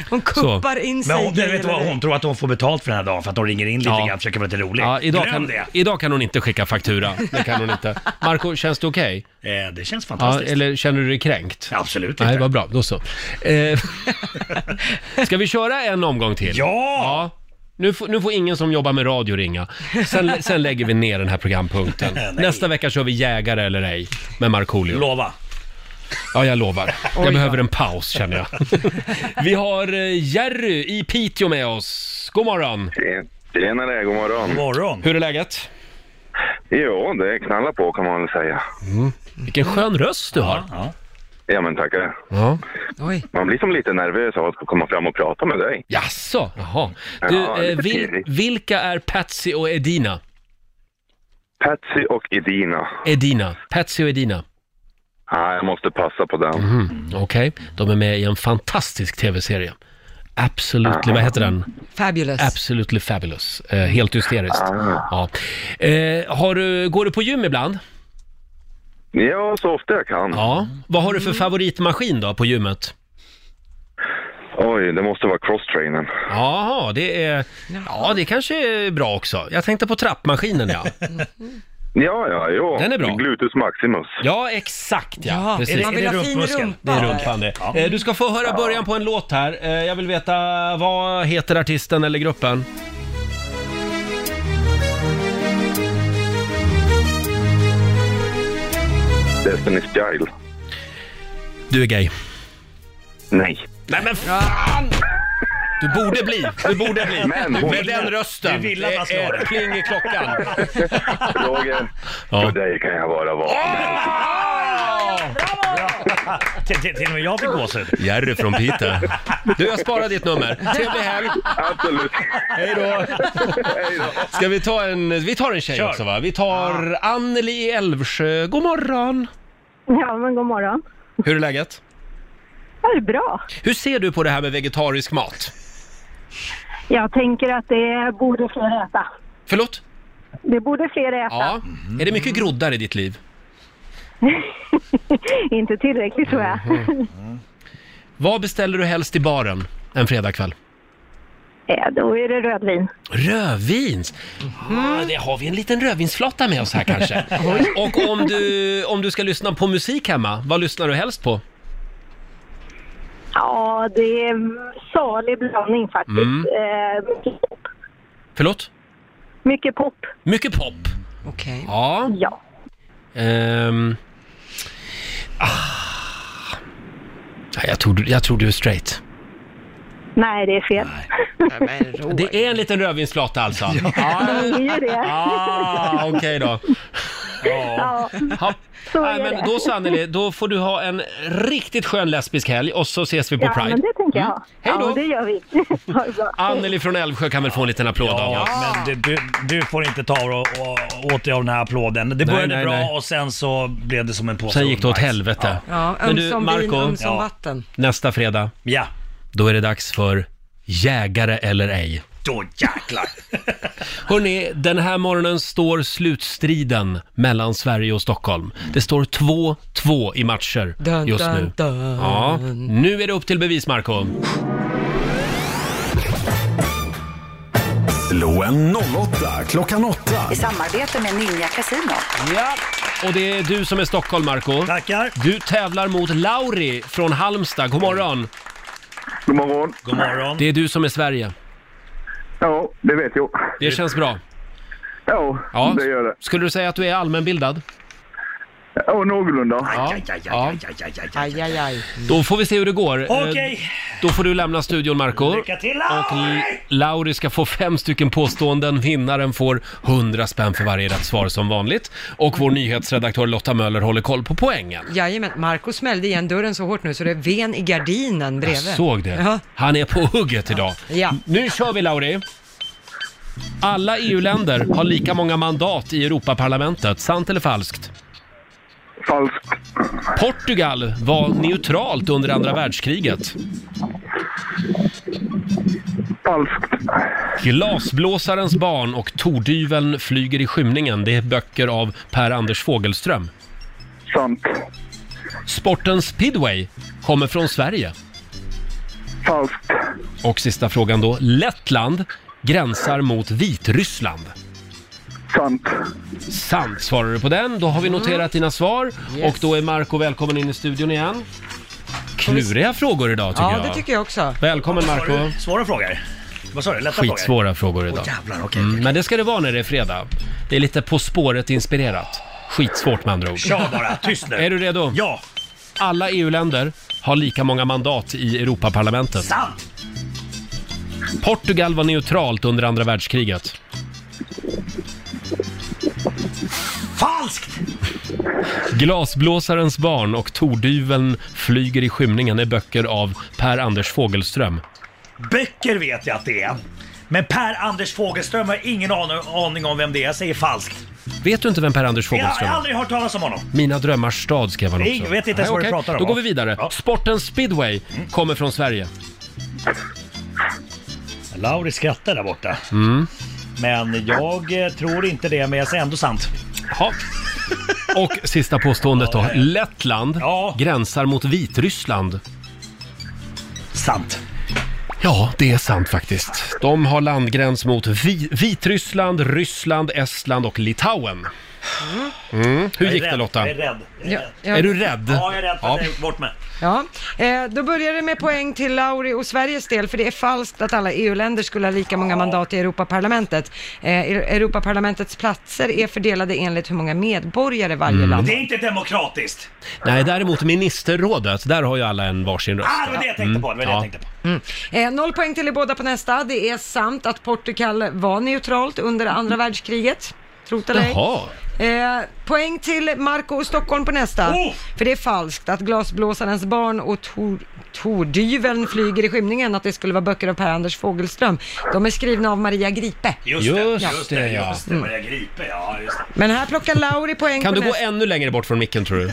Speaker 2: Hon
Speaker 1: kuppar
Speaker 2: in
Speaker 6: Men hon, vet du vad, hon tror att hon får betalt för den här dagen för att hon ringer in lite
Speaker 1: Ja.
Speaker 6: grann och försöker vara lite rolig.
Speaker 1: Ja, idag,
Speaker 6: Glöm
Speaker 1: kan,
Speaker 6: det!
Speaker 1: idag kan hon inte skicka faktura. Det kan hon inte. Marco, känns det okej?
Speaker 6: Eh, det känns
Speaker 1: Ja,
Speaker 6: fantastiskt.
Speaker 1: eller känner du dig kränkt?
Speaker 6: Absolut inte.
Speaker 1: Nej, vad bra. Då så. Eh, ska vi köra en omgång till?
Speaker 6: Ja!
Speaker 1: Nu, får, nu får ingen som jobbar med radio ringa. Sen, sen lägger vi ner den här programpunkten.
Speaker 6: Nej.
Speaker 1: Nästa vecka kör vi Jägare eller ej med Markoolio.
Speaker 6: Lova!
Speaker 1: Ja, jag lovar.
Speaker 6: Oj,
Speaker 1: Jag
Speaker 6: ja.
Speaker 1: behöver en paus känner jag. Vi har eh, Jerry i Piteå med oss. God morgon!
Speaker 13: Tjenare, god morgon.
Speaker 6: morgon!
Speaker 1: Hur är läget?
Speaker 13: Jo, det knallar på kan man väl säga.
Speaker 1: Vilken skön röst du har.
Speaker 13: Ja, men tackar.
Speaker 1: Ja. Oj.
Speaker 13: Man blir som lite nervös av att komma fram och prata med dig.
Speaker 1: Jaså, jaha. Du,
Speaker 13: Ja, lite
Speaker 1: eh, vil,
Speaker 13: pirrig.
Speaker 1: vilka är Patsy och Edina?
Speaker 13: Patsy och Edina.
Speaker 1: Edina. Patsy och Edina.
Speaker 13: Ah, jag måste passa på den.
Speaker 1: Mhm, Okej, de är med i en fantastisk tv-serie. Absolutely, vad heter den?
Speaker 2: Fabulous.
Speaker 1: Absolutely fabulous. Eh, helt hysteriskt. Ja.
Speaker 13: Ah.
Speaker 1: Eh, har du, går du på gym ibland?
Speaker 13: Ja, så ofta jag kan.
Speaker 1: Ja. Vad har du för favoritmaskin då på gymmet?
Speaker 13: Oj, det måste vara crosstrainern.
Speaker 1: Jaha, det är... Ja, det kanske är bra också. Jag tänkte på trappmaskinen ja.
Speaker 13: Ja, ja, jo.
Speaker 1: Den är bra.
Speaker 13: Glutus maximus.
Speaker 1: Ja, exakt ja.
Speaker 13: Ja,
Speaker 1: Precis.
Speaker 13: är det- Man vill är det ha fin rumpmuskeln? rumpa.
Speaker 1: Det är rumpan det.
Speaker 13: Ja.
Speaker 1: Eh, Du ska få höra början på en låt här. Eh, Jag vill veta, vad heter artisten eller gruppen?
Speaker 13: Destiny's Child.
Speaker 1: Du är gay.
Speaker 13: Nej.
Speaker 1: Nej men fan! Du borde bli, du borde bli.
Speaker 13: Men
Speaker 1: Med
Speaker 13: hon-
Speaker 1: den rösten.
Speaker 13: Du ville att man ska
Speaker 1: Det är
Speaker 13: ha det.
Speaker 1: Pling i klockan.
Speaker 13: Roger, för dig kan jag vara vad som helst.
Speaker 6: Till, till, till och med jag fick gåshud.
Speaker 1: Jerry från Piteå. Du, jag sparar ditt nummer. Trevlig helg!
Speaker 13: Absolut.
Speaker 1: Hej då! Ska vi ta en, vi tar en tjej
Speaker 13: Kör.
Speaker 1: också va? Vi tar Anneli i Älvsjö. God morgon!
Speaker 11: Ja, men god morgon.
Speaker 1: Hur är läget?
Speaker 11: Ja, det är bra.
Speaker 1: Hur ser du på det här med vegetarisk mat?
Speaker 11: Jag tänker att det borde fler äta.
Speaker 1: Förlåt?
Speaker 11: Det borde fler äta.
Speaker 1: Ja. Mm-hmm. Är det mycket groddar i ditt liv?
Speaker 11: Inte tillräckligt tror jag.
Speaker 1: Vad beställer du helst i baren en fredagkväll?
Speaker 14: Eh,
Speaker 11: Ja, då är det rödvin.
Speaker 1: Rödvins! Ah, det har vi en liten rödvinsflata med oss här kanske. Och om du, om du ska lyssna på musik hemma, vad lyssnar du helst på?
Speaker 11: Ja, det är en salig blandning faktiskt.
Speaker 1: Mm.
Speaker 11: Eh, mycket,
Speaker 1: Förlåt?
Speaker 11: mycket pop.
Speaker 1: Mycket pop.
Speaker 2: Okej.
Speaker 1: Ja.
Speaker 11: Ja.
Speaker 1: Ehm. ah. jag, tror, du- jag tror du är straight.
Speaker 11: Nej, det är fel.
Speaker 1: Det är en liten rödvinsflata alltså? Ja,
Speaker 11: Det är ju det.
Speaker 1: Ah, okej då.
Speaker 11: Ja.
Speaker 1: Ja.
Speaker 11: Så
Speaker 1: Nej,
Speaker 11: är
Speaker 1: men
Speaker 11: det.
Speaker 1: då så Anneli, då får du ha en riktigt skön lesbisk helg och så ses vi på
Speaker 11: Ja,
Speaker 1: Pride. Mm.
Speaker 11: men det tänker jag.
Speaker 1: Hej då.
Speaker 11: Ja, det gör vi. Ha det bra.
Speaker 1: Anneli från Älvsjö kan väl få en liten applåd av
Speaker 6: Ja,
Speaker 1: oss?
Speaker 6: men du, du, du får inte ta och, och, åt dig av den här applåden. Det
Speaker 1: Nej,
Speaker 6: började
Speaker 1: nej,
Speaker 6: bra
Speaker 1: nej.
Speaker 6: och sen så blev det som en påse
Speaker 1: Sen gick det åt
Speaker 6: ugnsbajs.
Speaker 1: helvete.
Speaker 2: Ja,
Speaker 1: Men du,
Speaker 2: ömsom vin,
Speaker 1: Marco?
Speaker 2: ömsom
Speaker 1: Ja.
Speaker 2: vatten.
Speaker 1: Nästa fredag,
Speaker 6: ja.
Speaker 1: då är det dags för Jägare eller ej.
Speaker 6: Då jäklar!
Speaker 1: Hörni, den här morgonen står slutstriden mellan Sverige och Stockholm. Det står 2-2 i matcher
Speaker 2: Dun,
Speaker 1: just
Speaker 2: dun,
Speaker 1: nu.
Speaker 2: dun.
Speaker 1: Ja, nu är det upp till bevis, Marco.
Speaker 4: Slå en 08 klockan 8.
Speaker 15: I samarbete med Ninja Casino.
Speaker 1: Ja. Och det är du som är Stockholm, Marco.
Speaker 6: Tackar.
Speaker 1: Du tävlar mot Lauri från Halmstad. God morgon.
Speaker 16: God morgon.
Speaker 6: God morgon.
Speaker 1: Det är du som är Sverige.
Speaker 16: Ja, det vet jag.
Speaker 1: Det känns bra.
Speaker 16: Ja,
Speaker 1: Ja.
Speaker 16: det gör det.
Speaker 1: Skulle du säga att du är allmänbildad?
Speaker 16: Ja, någorlunda.
Speaker 1: Ja.
Speaker 2: Aj, aj, aj.
Speaker 1: Då får vi se hur det går. Eh,
Speaker 6: Okej.
Speaker 1: Då får du lämna studion, Marco.
Speaker 6: Lycka till
Speaker 1: Och L- Lauri ska få fem stycken påståenden. Vinnaren får 100 spänn för varje rätt svar som vanligt. Och vår nyhetsredaktör Lotta Möller håller koll på poängen.
Speaker 2: Jajamän, Marco smällde igen dörren så hårt nu så det ven i gardinen
Speaker 1: Jag
Speaker 2: bredvid.
Speaker 1: såg det. Han är på hugget idag.
Speaker 2: Ja.
Speaker 1: Nu kör vi Lauri! Alla EU-länder har lika många mandat i Europaparlamentet. Sant eller falskt?
Speaker 16: Falskt.
Speaker 1: Portugal var neutralt under andra världskriget.
Speaker 16: Falskt.
Speaker 1: Glasblåsarens barn och tordyveln flyger i skymningen. Det är böcker av Per Anders Fogelström.
Speaker 16: Sant.
Speaker 1: Sporten speedway kommer från Sverige.
Speaker 16: Falskt.
Speaker 1: Och sista frågan då. Lettland gränsar mot Vitryssland.
Speaker 16: Sant.
Speaker 1: Sant svarar du på den. Då har vi noterat dina svar.
Speaker 2: Mm. Yes.
Speaker 1: Och då är Marco välkommen in i studion igen. Kluriga frågor idag tycker
Speaker 2: Ja,
Speaker 1: jag.
Speaker 2: det tycker jag också.
Speaker 1: Välkommen
Speaker 6: Svåra-
Speaker 1: Marco.
Speaker 6: Svåra frågor. Vad sa du? Lätta frågor?
Speaker 1: Skitsvåra frågor idag.
Speaker 6: Åh, jävlar, okej.
Speaker 1: Mm, Men det ska det vara när det är fredag. Det är lite På spåret-inspirerat. Skitsvårt med andra ord.
Speaker 6: Kör bara, tyst nu.
Speaker 1: Är du redo?
Speaker 6: Ja.
Speaker 1: Alla EU-länder har lika många mandat i Europaparlamentet.
Speaker 6: Sant!
Speaker 1: Portugal var neutralt under andra världskriget.
Speaker 6: Falskt!
Speaker 1: Glasblåsarens barn och Tordyveln flyger i skymningen är böcker av Per Anders Fogelström.
Speaker 6: Böcker vet jag att det är. Men Per Anders Fogelström har ingen an- aning om vem det är. Jag säger falskt.
Speaker 1: Vet du inte vem Per Anders
Speaker 6: Jag har
Speaker 1: Fogelström är?
Speaker 6: aldrig hört talas om honom.
Speaker 1: Mina drömmars stad skrev han också.
Speaker 6: Jag vet inte ens vad du
Speaker 1: okej.
Speaker 6: pratar om, Mm.
Speaker 1: Då går
Speaker 6: va?
Speaker 1: vi vidare. Sporten speedway kommer från Sverige.
Speaker 6: Lauri skrattar där borta.
Speaker 1: Mm.
Speaker 6: Men jag eh, tror inte det, men jag säger ändå sant.
Speaker 1: Ja. Och sista påståendet då. Lettland gränsar mot Vitryssland.
Speaker 6: Sant.
Speaker 1: Ja, det är sant faktiskt. De har landgräns mot Vi- Vitryssland, Ryssland, Estland och Litauen. Mm. Hur
Speaker 6: Jag är
Speaker 1: gick
Speaker 6: rädd,
Speaker 1: det Lotta?
Speaker 6: Jag är rädd. Jag
Speaker 2: Ja, ja.
Speaker 1: Är du rädd?
Speaker 6: Ja, jag är rädd för att
Speaker 1: Ja.
Speaker 6: det är bort med.
Speaker 2: Ja, eh, då börjar det med poäng till Lauri och Sveriges del, för det är falskt att alla EU-länder skulle ha lika många mandat i Europaparlamentet. Eh, Eu- Europaparlamentets platser är fördelade enligt hur många medborgare varje
Speaker 1: Mm.
Speaker 2: land
Speaker 6: Det är inte demokratiskt.
Speaker 1: Nej, däremot ministerrådet, där har ju alla en varsin röst.
Speaker 6: Ah, det var det jag tänkte på, det var det jag tänkte på.
Speaker 2: Mm. Eh, noll poäng till er båda på nästa. Det är sant att Portugal var neutralt under andra världskriget. Trot eller ej.
Speaker 1: Jaha.
Speaker 2: Eh, poäng till Marco och Stockholm på nästa.
Speaker 6: Oh!
Speaker 2: För det är falskt att glasblåsarens barn och tor- tordyveln flyger i skymningen, att det skulle vara böcker av Per-Anders Fogelström. De är skrivna av Maria Gripe.
Speaker 6: Just det,
Speaker 1: Just
Speaker 6: just
Speaker 1: det,
Speaker 6: det,
Speaker 1: ja.
Speaker 6: just det. Vad jag griper, ja just det.
Speaker 2: Men här plockar Lauri poäng
Speaker 1: Kan
Speaker 2: på
Speaker 1: du gå
Speaker 2: nästa.
Speaker 1: ännu längre bort från micken tror du?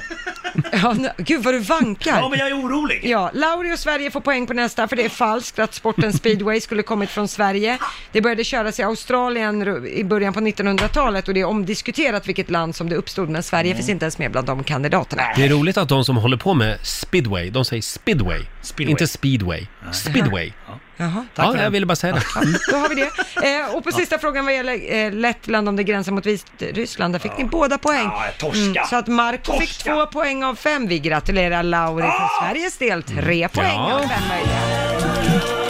Speaker 2: Ja, nu- Gud vad du vankar.
Speaker 6: Ja, men jag är orolig.
Speaker 2: Ja, Lauri och Sverige får poäng på nästa för det är falskt att sporten speedway skulle kommit från Sverige. Det började köras i Australien ru- i början på 1900-talet och det är omdiskuterat vilket land som det uppstod men Sverige
Speaker 6: Mm.
Speaker 2: finns inte ens med bland de kandidaterna.
Speaker 1: Det är roligt att de som håller på med speedway, de säger speedway. Inte speedway. Speedway.
Speaker 2: Jaha.
Speaker 1: Ja, jag ville bara säga det. Mm.
Speaker 2: Då har vi det. Eh, och på sista frågan vad gäller eh, Lettland om det gränsar mot Vitryssland, där fick ni båda poäng. Mm,
Speaker 6: Ja, jag torska.
Speaker 2: så att Marco fick två poäng av fem. Vi gratulerar Lauri för Sveriges del. Tre poäng
Speaker 1: Ja.
Speaker 2: av fem möjliga.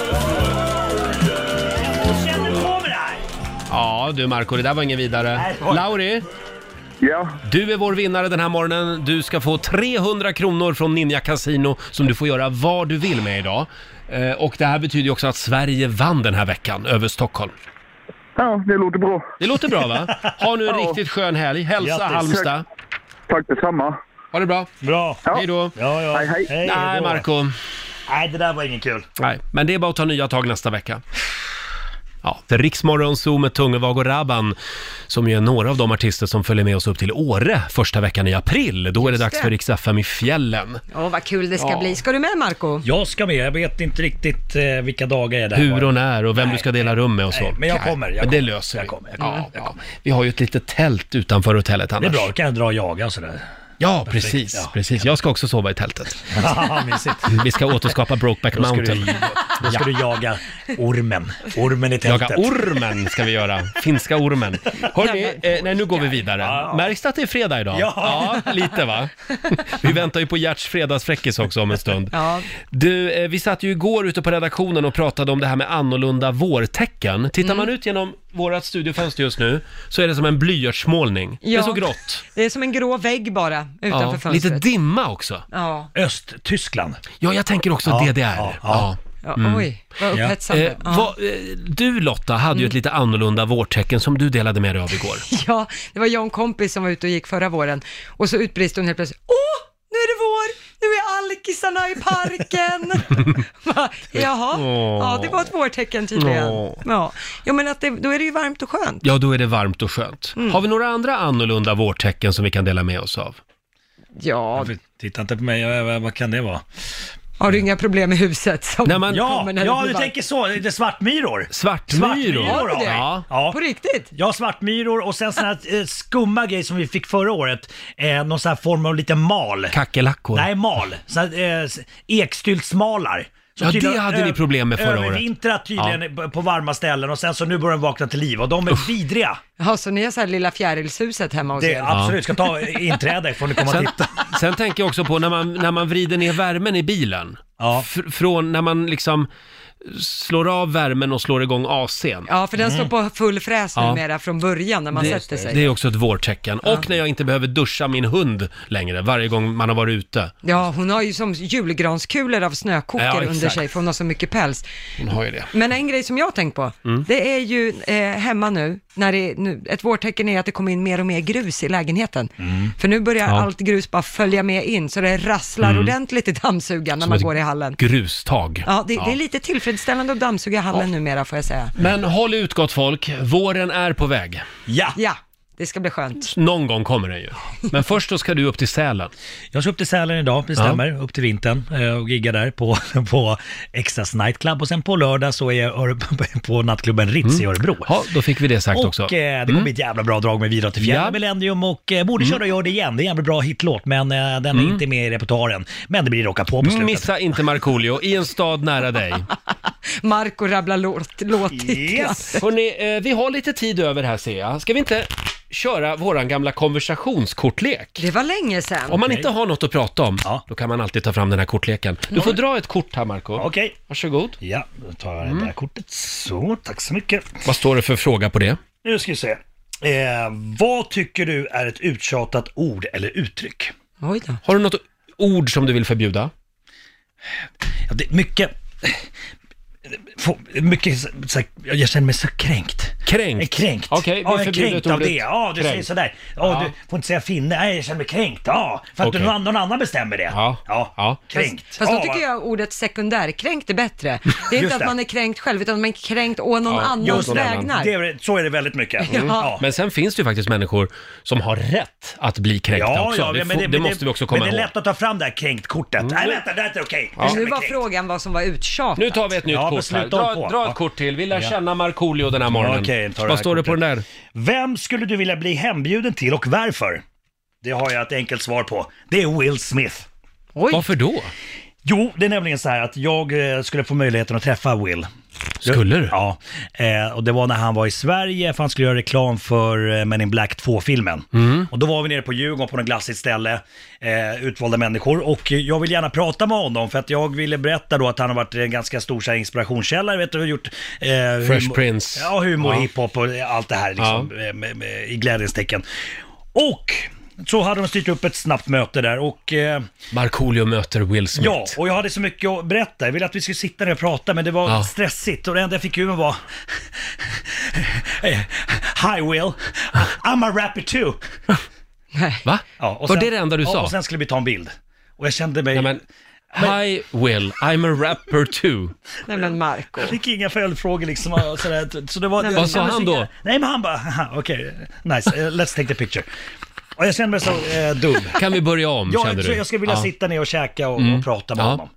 Speaker 6: Jag känner på mig det här.
Speaker 1: Ja, du Marco, det där var ingen vidare. Lauri,
Speaker 16: Ja,
Speaker 1: du är vår vinnare den här morgonen. Du ska få 300 kronor från Ninja Casino som du får göra vad du vill med idag. Eh, Och det här betyder ju också att Sverige vann den här veckan över Stockholm.
Speaker 16: ja det låter bra.
Speaker 1: Det låter bra va? Ha nu en riktigt skön helg. Hälsa
Speaker 6: Grattis.
Speaker 1: Halmstad.
Speaker 16: Tack detsamma.
Speaker 1: Ha det bra.
Speaker 6: Bra.
Speaker 1: Hej då.
Speaker 6: Ja, ja.
Speaker 16: Hej, hej.
Speaker 1: Nej,
Speaker 6: då.
Speaker 1: Marco.
Speaker 6: Nej, det där var ingen kul.
Speaker 1: Nej, men det är bara att ta nya tag nästa vecka. Ja, det är Riksmorgon Zoo med Tungevag och Rabban som ju är några av de artister som följer med oss upp till Åre första veckan i april. Då är det
Speaker 2: Just
Speaker 1: dags
Speaker 2: det.
Speaker 1: för Rix FM i fjällen.
Speaker 2: Åh, vad kul det ska
Speaker 1: Ja.
Speaker 2: bli. Ska du med Marco?
Speaker 6: Jag ska med, jag vet inte riktigt eh, vilka dagar jag är där.
Speaker 1: Hur och när och vem du ska dela rum med och så.
Speaker 6: Nej, men jag kommer, jag
Speaker 1: men det
Speaker 6: kommer.
Speaker 1: löser
Speaker 6: Jag
Speaker 1: vi.
Speaker 6: kommer, jag kommer,
Speaker 1: ja, ja. Vi har ju ett litet tält utanför hotellet
Speaker 6: Det är
Speaker 1: annars.
Speaker 6: bra, då kan jag dra och jaga och sådär.
Speaker 1: Ja, precis,
Speaker 6: Ja.
Speaker 1: precis. Jag ska också sova i tältet.
Speaker 6: Haha, Mysigt.
Speaker 1: Vi ska återskapa Brokeback
Speaker 6: Då ska
Speaker 1: Mountain.
Speaker 6: du, då ska du jaga Ormen. Ormen i
Speaker 1: Jaga
Speaker 6: tältet.
Speaker 1: ormen ska vi göra. Finska ormen. Hörni, eh, nej nu går vi vidare. Märks det att det är fredag idag?
Speaker 6: Ja.
Speaker 1: lite va? Vi väntar ju på Gerts fredagsfräckis också om en stund.
Speaker 2: Ja.
Speaker 1: Du, eh, vi satt ju igår ute på redaktionen och pratade om det här med annorlunda vårtecken. Tittar man
Speaker 2: Mm.
Speaker 1: ut genom vårat studiofönster just nu så är det som en blyertsmålning. Det är
Speaker 2: Ja.
Speaker 1: så grått.
Speaker 2: Det är som en grå vägg bara utanför
Speaker 1: Ja,
Speaker 2: fönstret.
Speaker 1: lite dimma också.
Speaker 2: Ja.
Speaker 1: Östtyskland. Ja, jag tänker också
Speaker 6: Ja,
Speaker 1: DDR.
Speaker 6: ja,
Speaker 1: Ja,
Speaker 6: ja.
Speaker 2: Ja, oj, vad upphetsande. Ja. Mm.
Speaker 1: vad- eh, du Lotta hade ju ett lite annorlunda vårtecken som du delade med dig av igår.
Speaker 2: Ja, det var jag och en kompis som var ute och gick förra våren och så utbrist hon helt plötsligt Åh, nu är det vår! Nu är alkisarna i parken! Va? Jaha, ja det var ett vårtecken tydligen.
Speaker 1: Åh.
Speaker 2: Ja, jo, men att det, då är det ju varmt och skönt.
Speaker 1: Ja, då är det varmt och skönt.
Speaker 2: Mm.
Speaker 1: Har vi några andra annorlunda vårtecken som vi kan dela med oss av?
Speaker 2: Ja.
Speaker 6: Titta inte på mig, jag- jag- vad kan det vara?
Speaker 2: Har du inga problem med huset som
Speaker 6: Nej, men-
Speaker 2: kommer
Speaker 6: Ja,
Speaker 2: när det
Speaker 6: ja,
Speaker 2: blir
Speaker 6: du
Speaker 2: varmt?
Speaker 6: tänker så. Det är svartmyror.
Speaker 1: Svartmyror?
Speaker 2: Har du det?
Speaker 6: ja.
Speaker 2: På riktigt?
Speaker 6: Ja, svartmyror och sen sån här eh, skumma grej som vi fick förra året. Eh, någon sån här form av liten mal.
Speaker 1: Kackerlackor?
Speaker 6: Nej, mal. Så här, eh, ekstyltsmalar. Som
Speaker 1: Ja, det
Speaker 6: tydligen
Speaker 1: hade ni
Speaker 6: ö-
Speaker 1: problem med förra året.
Speaker 6: Övervintrat tydligen på- på varma ställen och sen så nu börjar de vakna till liv och de är vidriga.
Speaker 2: Ja, så ni har så här lilla fjärilshuset hemma hos
Speaker 6: Det,
Speaker 2: er?
Speaker 6: absolut, ska ta inträde får ni komma och
Speaker 1: Sen,
Speaker 6: titta.
Speaker 1: sen tänker jag också på när man, när man vrider ner värmen i bilen. Fr- från när man liksom slår av värmen och slår igång AC'n.
Speaker 2: Ja, för den
Speaker 6: Mm.
Speaker 2: står på full fräs
Speaker 1: Ja.
Speaker 2: numera från början när man sätter sig.
Speaker 1: Det är också ett vårtecken. Och när jag inte behöver duscha min hund längre varje gång man har varit ute.
Speaker 2: Ja, hon har ju som julgranskulor av snökokare
Speaker 1: Ja,
Speaker 2: under
Speaker 1: exakt.
Speaker 2: sig för hon har så mycket päls.
Speaker 1: Hon har ju det.
Speaker 2: Men en grej som jag har tänkt på,
Speaker 1: Mm.
Speaker 2: det är ju eh, hemma nu, när det, nu, ett vårtecken är att det kommer in mer och mer grus i lägenheten.
Speaker 6: Mm.
Speaker 2: För nu börjar
Speaker 1: Ja.
Speaker 2: allt grus bara följa med in, så det rasslar
Speaker 1: Mm.
Speaker 2: ordentligt i dammsugaren när
Speaker 1: Som
Speaker 2: man
Speaker 1: ett
Speaker 2: går i hallen.
Speaker 1: Grustag.
Speaker 2: Ja det, det är lite tillfredsställande att dammsuga hallen numera får jag säga.
Speaker 1: Men håll ut gott folk, våren är på väg.
Speaker 6: Ja.
Speaker 2: Ja, det ska bli skönt.
Speaker 1: Någon gång kommer den ju. Men först då ska du upp till Sälen.
Speaker 6: Jag ska upp till Sälen idag, det
Speaker 1: Ja.
Speaker 6: stämmer, upp till vintern eh, och gigga där på, på Extras Nightclub och sen på lördag så är jag i Öre- på nattklubben Ritz i Örebro.
Speaker 1: Mm. Ja, då fick vi det sagt
Speaker 6: och,
Speaker 1: också.
Speaker 6: eh, det kommer
Speaker 1: Mm.
Speaker 6: bli ett jävla bra drag med Vidra till fjällen,
Speaker 1: Ja. Mm.
Speaker 6: Millennium och eh, borde köra och göra det igen. Det är en jävla bra hitlåt men eh, den är inte med i repertoaren. Men det blir rocka på på slutet.
Speaker 1: Missa inte Markoolio i en stad nära dig.
Speaker 2: Marco rabblar låt, låttitel.
Speaker 1: Hörrni, eh, vi har lite tid över här ser jag. Ska vi inte köra våran gamla konversationskortlek?
Speaker 2: Det var länge sedan.
Speaker 1: Om man inte har något att prata om, då kan man alltid ta fram den här kortleken.
Speaker 2: Mm.
Speaker 1: Du får dra ett kort här Marco.
Speaker 6: Okej.
Speaker 1: Varsågod. Mm.
Speaker 6: Ja, då tar jag det där kortet. Så, tack så mycket.
Speaker 1: Vad står det för fråga på det?
Speaker 6: Nu ska vi se. Eh, vad tycker du är ett uttjatat ord eller uttryck?
Speaker 2: Oj då.
Speaker 1: Har du något ord som du vill förbjuda?
Speaker 6: Ja, det är mycket... Få- Mycket, så- så här- jag känner mig så kränkt. Eh,
Speaker 1: Kränkt?
Speaker 6: Kränkt.
Speaker 1: Okej, vi
Speaker 6: ja, jag är
Speaker 1: förbjuder
Speaker 6: kränkt
Speaker 1: ordet
Speaker 6: av det. Ja, du säger
Speaker 1: kränkt.
Speaker 6: sådär. Ja,
Speaker 1: Ja.
Speaker 6: Du får inte säga finne. Nej, jag känner mig kränkt. Ja, för att
Speaker 1: Okej.
Speaker 6: någon, någon annan bestämmer det.
Speaker 1: Ja. ja.
Speaker 6: Kränkt.
Speaker 2: Fast, fast då
Speaker 6: Ja,
Speaker 2: tycker jag ordet sekundärkränkt är bättre. Det är
Speaker 6: Just
Speaker 2: inte att
Speaker 6: det.
Speaker 2: man är kränkt själv, utan man är kränkt å någon annans
Speaker 1: någon annan.
Speaker 2: vägnar.
Speaker 6: Det är, så är det väldigt mycket. Mm.
Speaker 2: Ja. Ja.
Speaker 1: Men sen finns det ju faktiskt människor som har rätt att bli kränkta också. det, får, det, måste vi också komma ihåg.
Speaker 6: men
Speaker 1: Mm.
Speaker 6: det är lätt att ta fram det här kränkt-kortet. Nej, vänta, det här är okej.
Speaker 1: Ja.
Speaker 2: Nu var frågan vad som var uttjatat.
Speaker 1: Nu tar vi ett nytt
Speaker 6: Ja,
Speaker 1: kort
Speaker 6: besluta
Speaker 1: här. Dra,
Speaker 6: om på.
Speaker 1: dra
Speaker 6: Ja.
Speaker 1: ett kort till. Vi lär
Speaker 6: Ja.
Speaker 1: känna Markoolio den här morgonen.
Speaker 6: Okej, ta det
Speaker 1: Vad
Speaker 6: här
Speaker 1: står det på den
Speaker 6: kortet.
Speaker 1: där?
Speaker 6: Vem skulle du vilja bli hembjuden till och varför? Det har jag ett enkelt svar på. Det är Will Smith.
Speaker 1: Varför då?
Speaker 6: Jo, det är nämligen så här att jag eh, skulle få möjligheten att träffa Will.
Speaker 1: Skulle du?
Speaker 6: Ja, eh, och det var när han var i Sverige för han skulle göra reklam för eh, Men in Black 2-filmen.
Speaker 1: Mm.
Speaker 6: Och då var vi nere på Djurgården på något glassigt ställe, eh, utvalda människor. Och eh, jag vill gärna prata med honom för att jag ville berätta då att han har varit en ganska stor så här, inspirationskälla, vet du, och gjort... Eh,
Speaker 1: Fresh
Speaker 6: humor-
Speaker 1: Prince.
Speaker 6: Ja, humor,
Speaker 1: Ja.
Speaker 6: hiphop och allt det här liksom, eh, med, med, i glädjens tecken. Och så hade de styrt upp ett snabbt möte där och... Eh,
Speaker 1: Markoolio möter Will Smith.
Speaker 6: Ja, och jag hade så mycket att berätta. Jag ville att vi skulle sitta ner och prata, men det var
Speaker 1: Ja.
Speaker 6: stressigt och det enda jag fick ur mig var... Hi Will, I'm a rapper too.
Speaker 1: Va?
Speaker 6: Ja, och
Speaker 1: Var
Speaker 6: sen-
Speaker 1: det det enda du
Speaker 6: ja,
Speaker 1: sa?
Speaker 6: Och sen skulle vi ta en bild. Och jag kände mig...
Speaker 1: Hi Will, I'm a rapper too.
Speaker 2: Nej men Marco.
Speaker 6: Jag fick inga följdfrågor liksom och sådär. Så det var,
Speaker 1: Nej, men- Vad sa
Speaker 6: det var
Speaker 1: han
Speaker 6: så
Speaker 1: då?
Speaker 6: jävla- Nej men han bara, "Haha, okej, nice, eh, let's take the picture. Och jag kände mig så eh, dum.
Speaker 1: Kan vi börja om,
Speaker 6: Ja,
Speaker 1: kände
Speaker 6: jag,
Speaker 1: du?
Speaker 6: jag skulle vilja
Speaker 1: Ja.
Speaker 6: sitta ner och käka och,
Speaker 1: Mm.
Speaker 6: och prata med
Speaker 1: Ja.
Speaker 6: honom.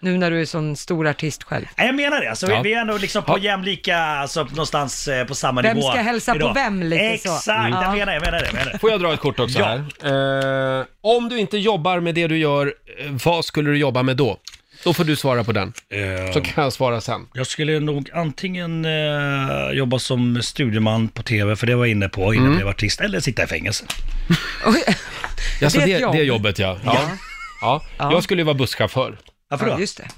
Speaker 2: Nu när du är sån stor artist själv.
Speaker 6: Nej, jag menar det. Alltså,
Speaker 1: Ja.
Speaker 6: Vi är ändå liksom på jämlika, alltså, någonstans eh, på samma
Speaker 2: Vem
Speaker 6: nivå.
Speaker 2: ska hälsa på
Speaker 6: idag.
Speaker 2: vem, lite så.
Speaker 6: Exakt,
Speaker 2: Mm.
Speaker 6: jag menar, jag menar det. Jag menar det.
Speaker 1: Får jag dra ett kort också
Speaker 6: Ja.
Speaker 1: här? Eh, om du inte jobbar med det du gör, eh, vad skulle du jobba med då? Då får du svara på den.
Speaker 6: Eh.
Speaker 1: Så kan jag svara sen.
Speaker 17: Jag skulle nog antingen eh, jobba som studieman på tv, för det var jag inne på innan
Speaker 1: Mm.
Speaker 17: jag blev artist, eller sitta i fängelse.
Speaker 1: Jaså,
Speaker 17: Det är
Speaker 1: det,
Speaker 17: ett jobb.
Speaker 1: det är jobbet ja. Ja.
Speaker 17: Ja.
Speaker 1: Ja. Jag skulle ju vara busschaufför.
Speaker 17: Varför då? Ja, just
Speaker 2: det.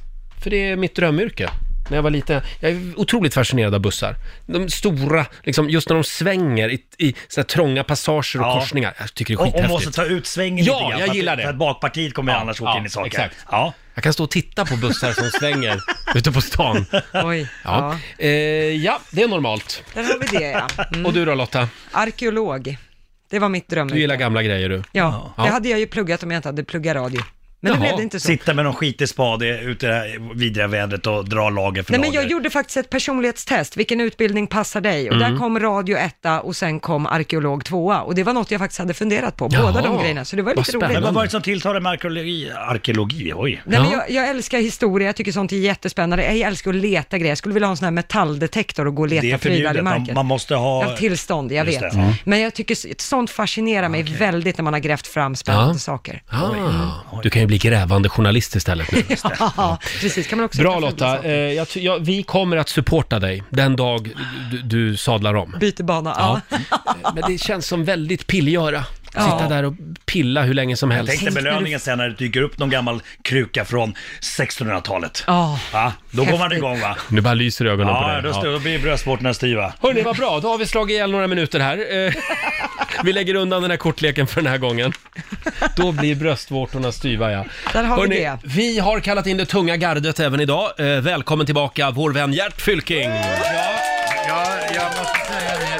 Speaker 1: För det är mitt drömyrke. När jag var liten, jag är otroligt fascinerad av bussar. De stora, liksom, just när de svänger i, i såna här trånga passager och
Speaker 17: Ja.
Speaker 1: korsningar. Jag tycker det är
Speaker 17: Och, och
Speaker 1: skithäftigt.
Speaker 17: måste ta ut svängen
Speaker 1: Ja,
Speaker 17: lite grann,
Speaker 1: jag
Speaker 17: för att-
Speaker 1: gillar det.
Speaker 17: För att bakpartiet kommer annars åka in i saker.
Speaker 1: Exakt.
Speaker 17: Ja.
Speaker 1: Jag kan stå och titta på bussar som svänger ute på stan.
Speaker 2: Oj.
Speaker 1: Ja, eh, ja det är normalt.
Speaker 2: Där har vi det ja. Mm.
Speaker 1: Och du då Lotta?
Speaker 2: Arkeolog. Det var mitt drömyrke.
Speaker 1: Du gillar gamla grejer du.
Speaker 2: Ja, det hade jag ju pluggat om jag inte hade pluggat radio. Men det blev det inte så.
Speaker 17: Sitta med någon skitig spade ute i det här vidriga vädret och dra lager för
Speaker 2: Nej, men
Speaker 17: lager.
Speaker 2: jag gjorde faktiskt ett personlighetstest, vilken utbildning passar dig? Och där
Speaker 17: Mm.
Speaker 2: kom radio etta och sen kom arkeolog tvåa. Och det var något jag faktiskt hade funderat på, båda de grejerna. Så det var lite roligt.
Speaker 17: Men vad var det som tilltalade med arkeologi? Arkeologi, oj.
Speaker 2: Nej, men jag, jag älskar historia, jag tycker sånt är jättespännande. Jag älskar att leta grejer. Jag skulle vilja ha en sån här metalldetektor och gå och
Speaker 17: det är
Speaker 2: leta prylar i
Speaker 17: förbjudet, man,
Speaker 2: marken.
Speaker 17: man måste ha...
Speaker 2: Jag har tillstånd, jag
Speaker 17: Just
Speaker 2: vet.
Speaker 17: det, ja.
Speaker 2: Men jag tycker s- sånt fascinerar mig väldigt när man har grävt fram spännande saker.
Speaker 1: Ah, du kan ju bli grävande journalist istället nu.
Speaker 2: Ja, precis. Kan man också
Speaker 1: Bra Lotta, eh, jag, ty- jag, vi kommer att supporta dig den dag du, du sadlar om.
Speaker 2: Byter bana, ja.
Speaker 1: Eh, Men det känns som väldigt pillgöra. Sitta där och pilla hur länge som
Speaker 17: Jag
Speaker 1: helst.
Speaker 17: tänkte belöningen sen när det dyker upp någon gammal kruka från 1600-talet.
Speaker 2: Ja.
Speaker 17: Va? Då går man
Speaker 1: häftigt.
Speaker 17: igång va?
Speaker 1: Nu bara lyser ögonen på
Speaker 17: Ja,
Speaker 1: dig.
Speaker 17: då, står- då blir bröstvårtorna stiva.
Speaker 1: Hörni, vad bra. Då har vi slagit ihjäl några minuter här. Eh, Vi lägger undan den här kortleken för den här gången. Då blir bröstvårtorna styva, ja.
Speaker 2: Där har vi
Speaker 1: Hörni,
Speaker 2: det.
Speaker 1: Vi har kallat in det tunga gardet även idag. Eh, Välkommen tillbaka, vår vän Gert Fylking.
Speaker 12: Ja, jag måste säga det.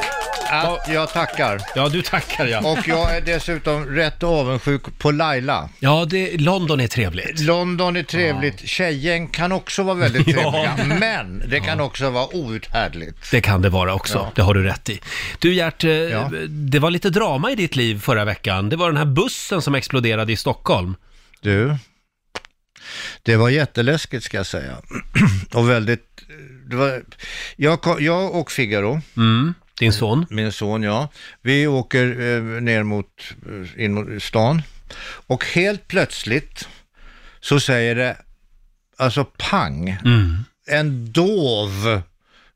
Speaker 12: Att jag tackar.
Speaker 1: Ja, du tackar ja.
Speaker 12: Och jag är dessutom rätt avundsjuk på Laila.
Speaker 1: Ja, det, London är trevligt.
Speaker 12: London är trevligt, tjejgäng kan också vara väldigt
Speaker 1: Ja.
Speaker 12: trevliga, men det kan också vara outhärdligt.
Speaker 1: Det kan det vara också,
Speaker 12: Ja.
Speaker 1: det har du rätt i. Du Gert, eh, det var lite drama i ditt liv förra veckan. Det var den här bussen som exploderade i Stockholm.
Speaker 12: Du, det var jätteläskigt ska jag säga. Och väldigt, det var, jag, ko- jag och Figaro,
Speaker 1: Mm, din son,
Speaker 12: min son ja, vi åker eh, ner mot, eh, in mot stan och helt plötsligt så säger det, alltså pang, en dov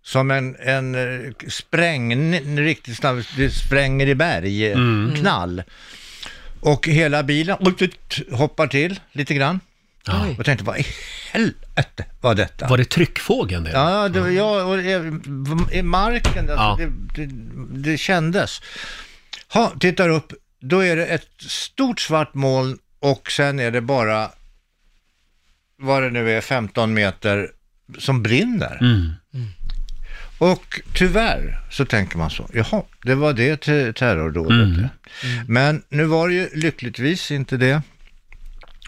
Speaker 12: som en, en eh, sprängning, en riktigt snabb, det spränger i berg, eh,
Speaker 1: Mm.
Speaker 12: knall. Och hela bilen hoppar till lite grann. Och tänkte, vad i helvete var detta?
Speaker 1: Var det tryckfågeln det?
Speaker 12: Ja, det var jag och eh, i- i marken, alltså,
Speaker 1: Ja.
Speaker 12: det, det, det kändes. Ha, tittar upp, då är det ett stort svart moln och sen är det bara, vad det nu är, 15 meter som brinner.
Speaker 1: Mm.
Speaker 12: Mm. Och tyvärr så tänker man så, jaha, det var det te- terrordådet.
Speaker 1: Mm.
Speaker 12: eh. Men nu var det ju lyckligtvis inte det.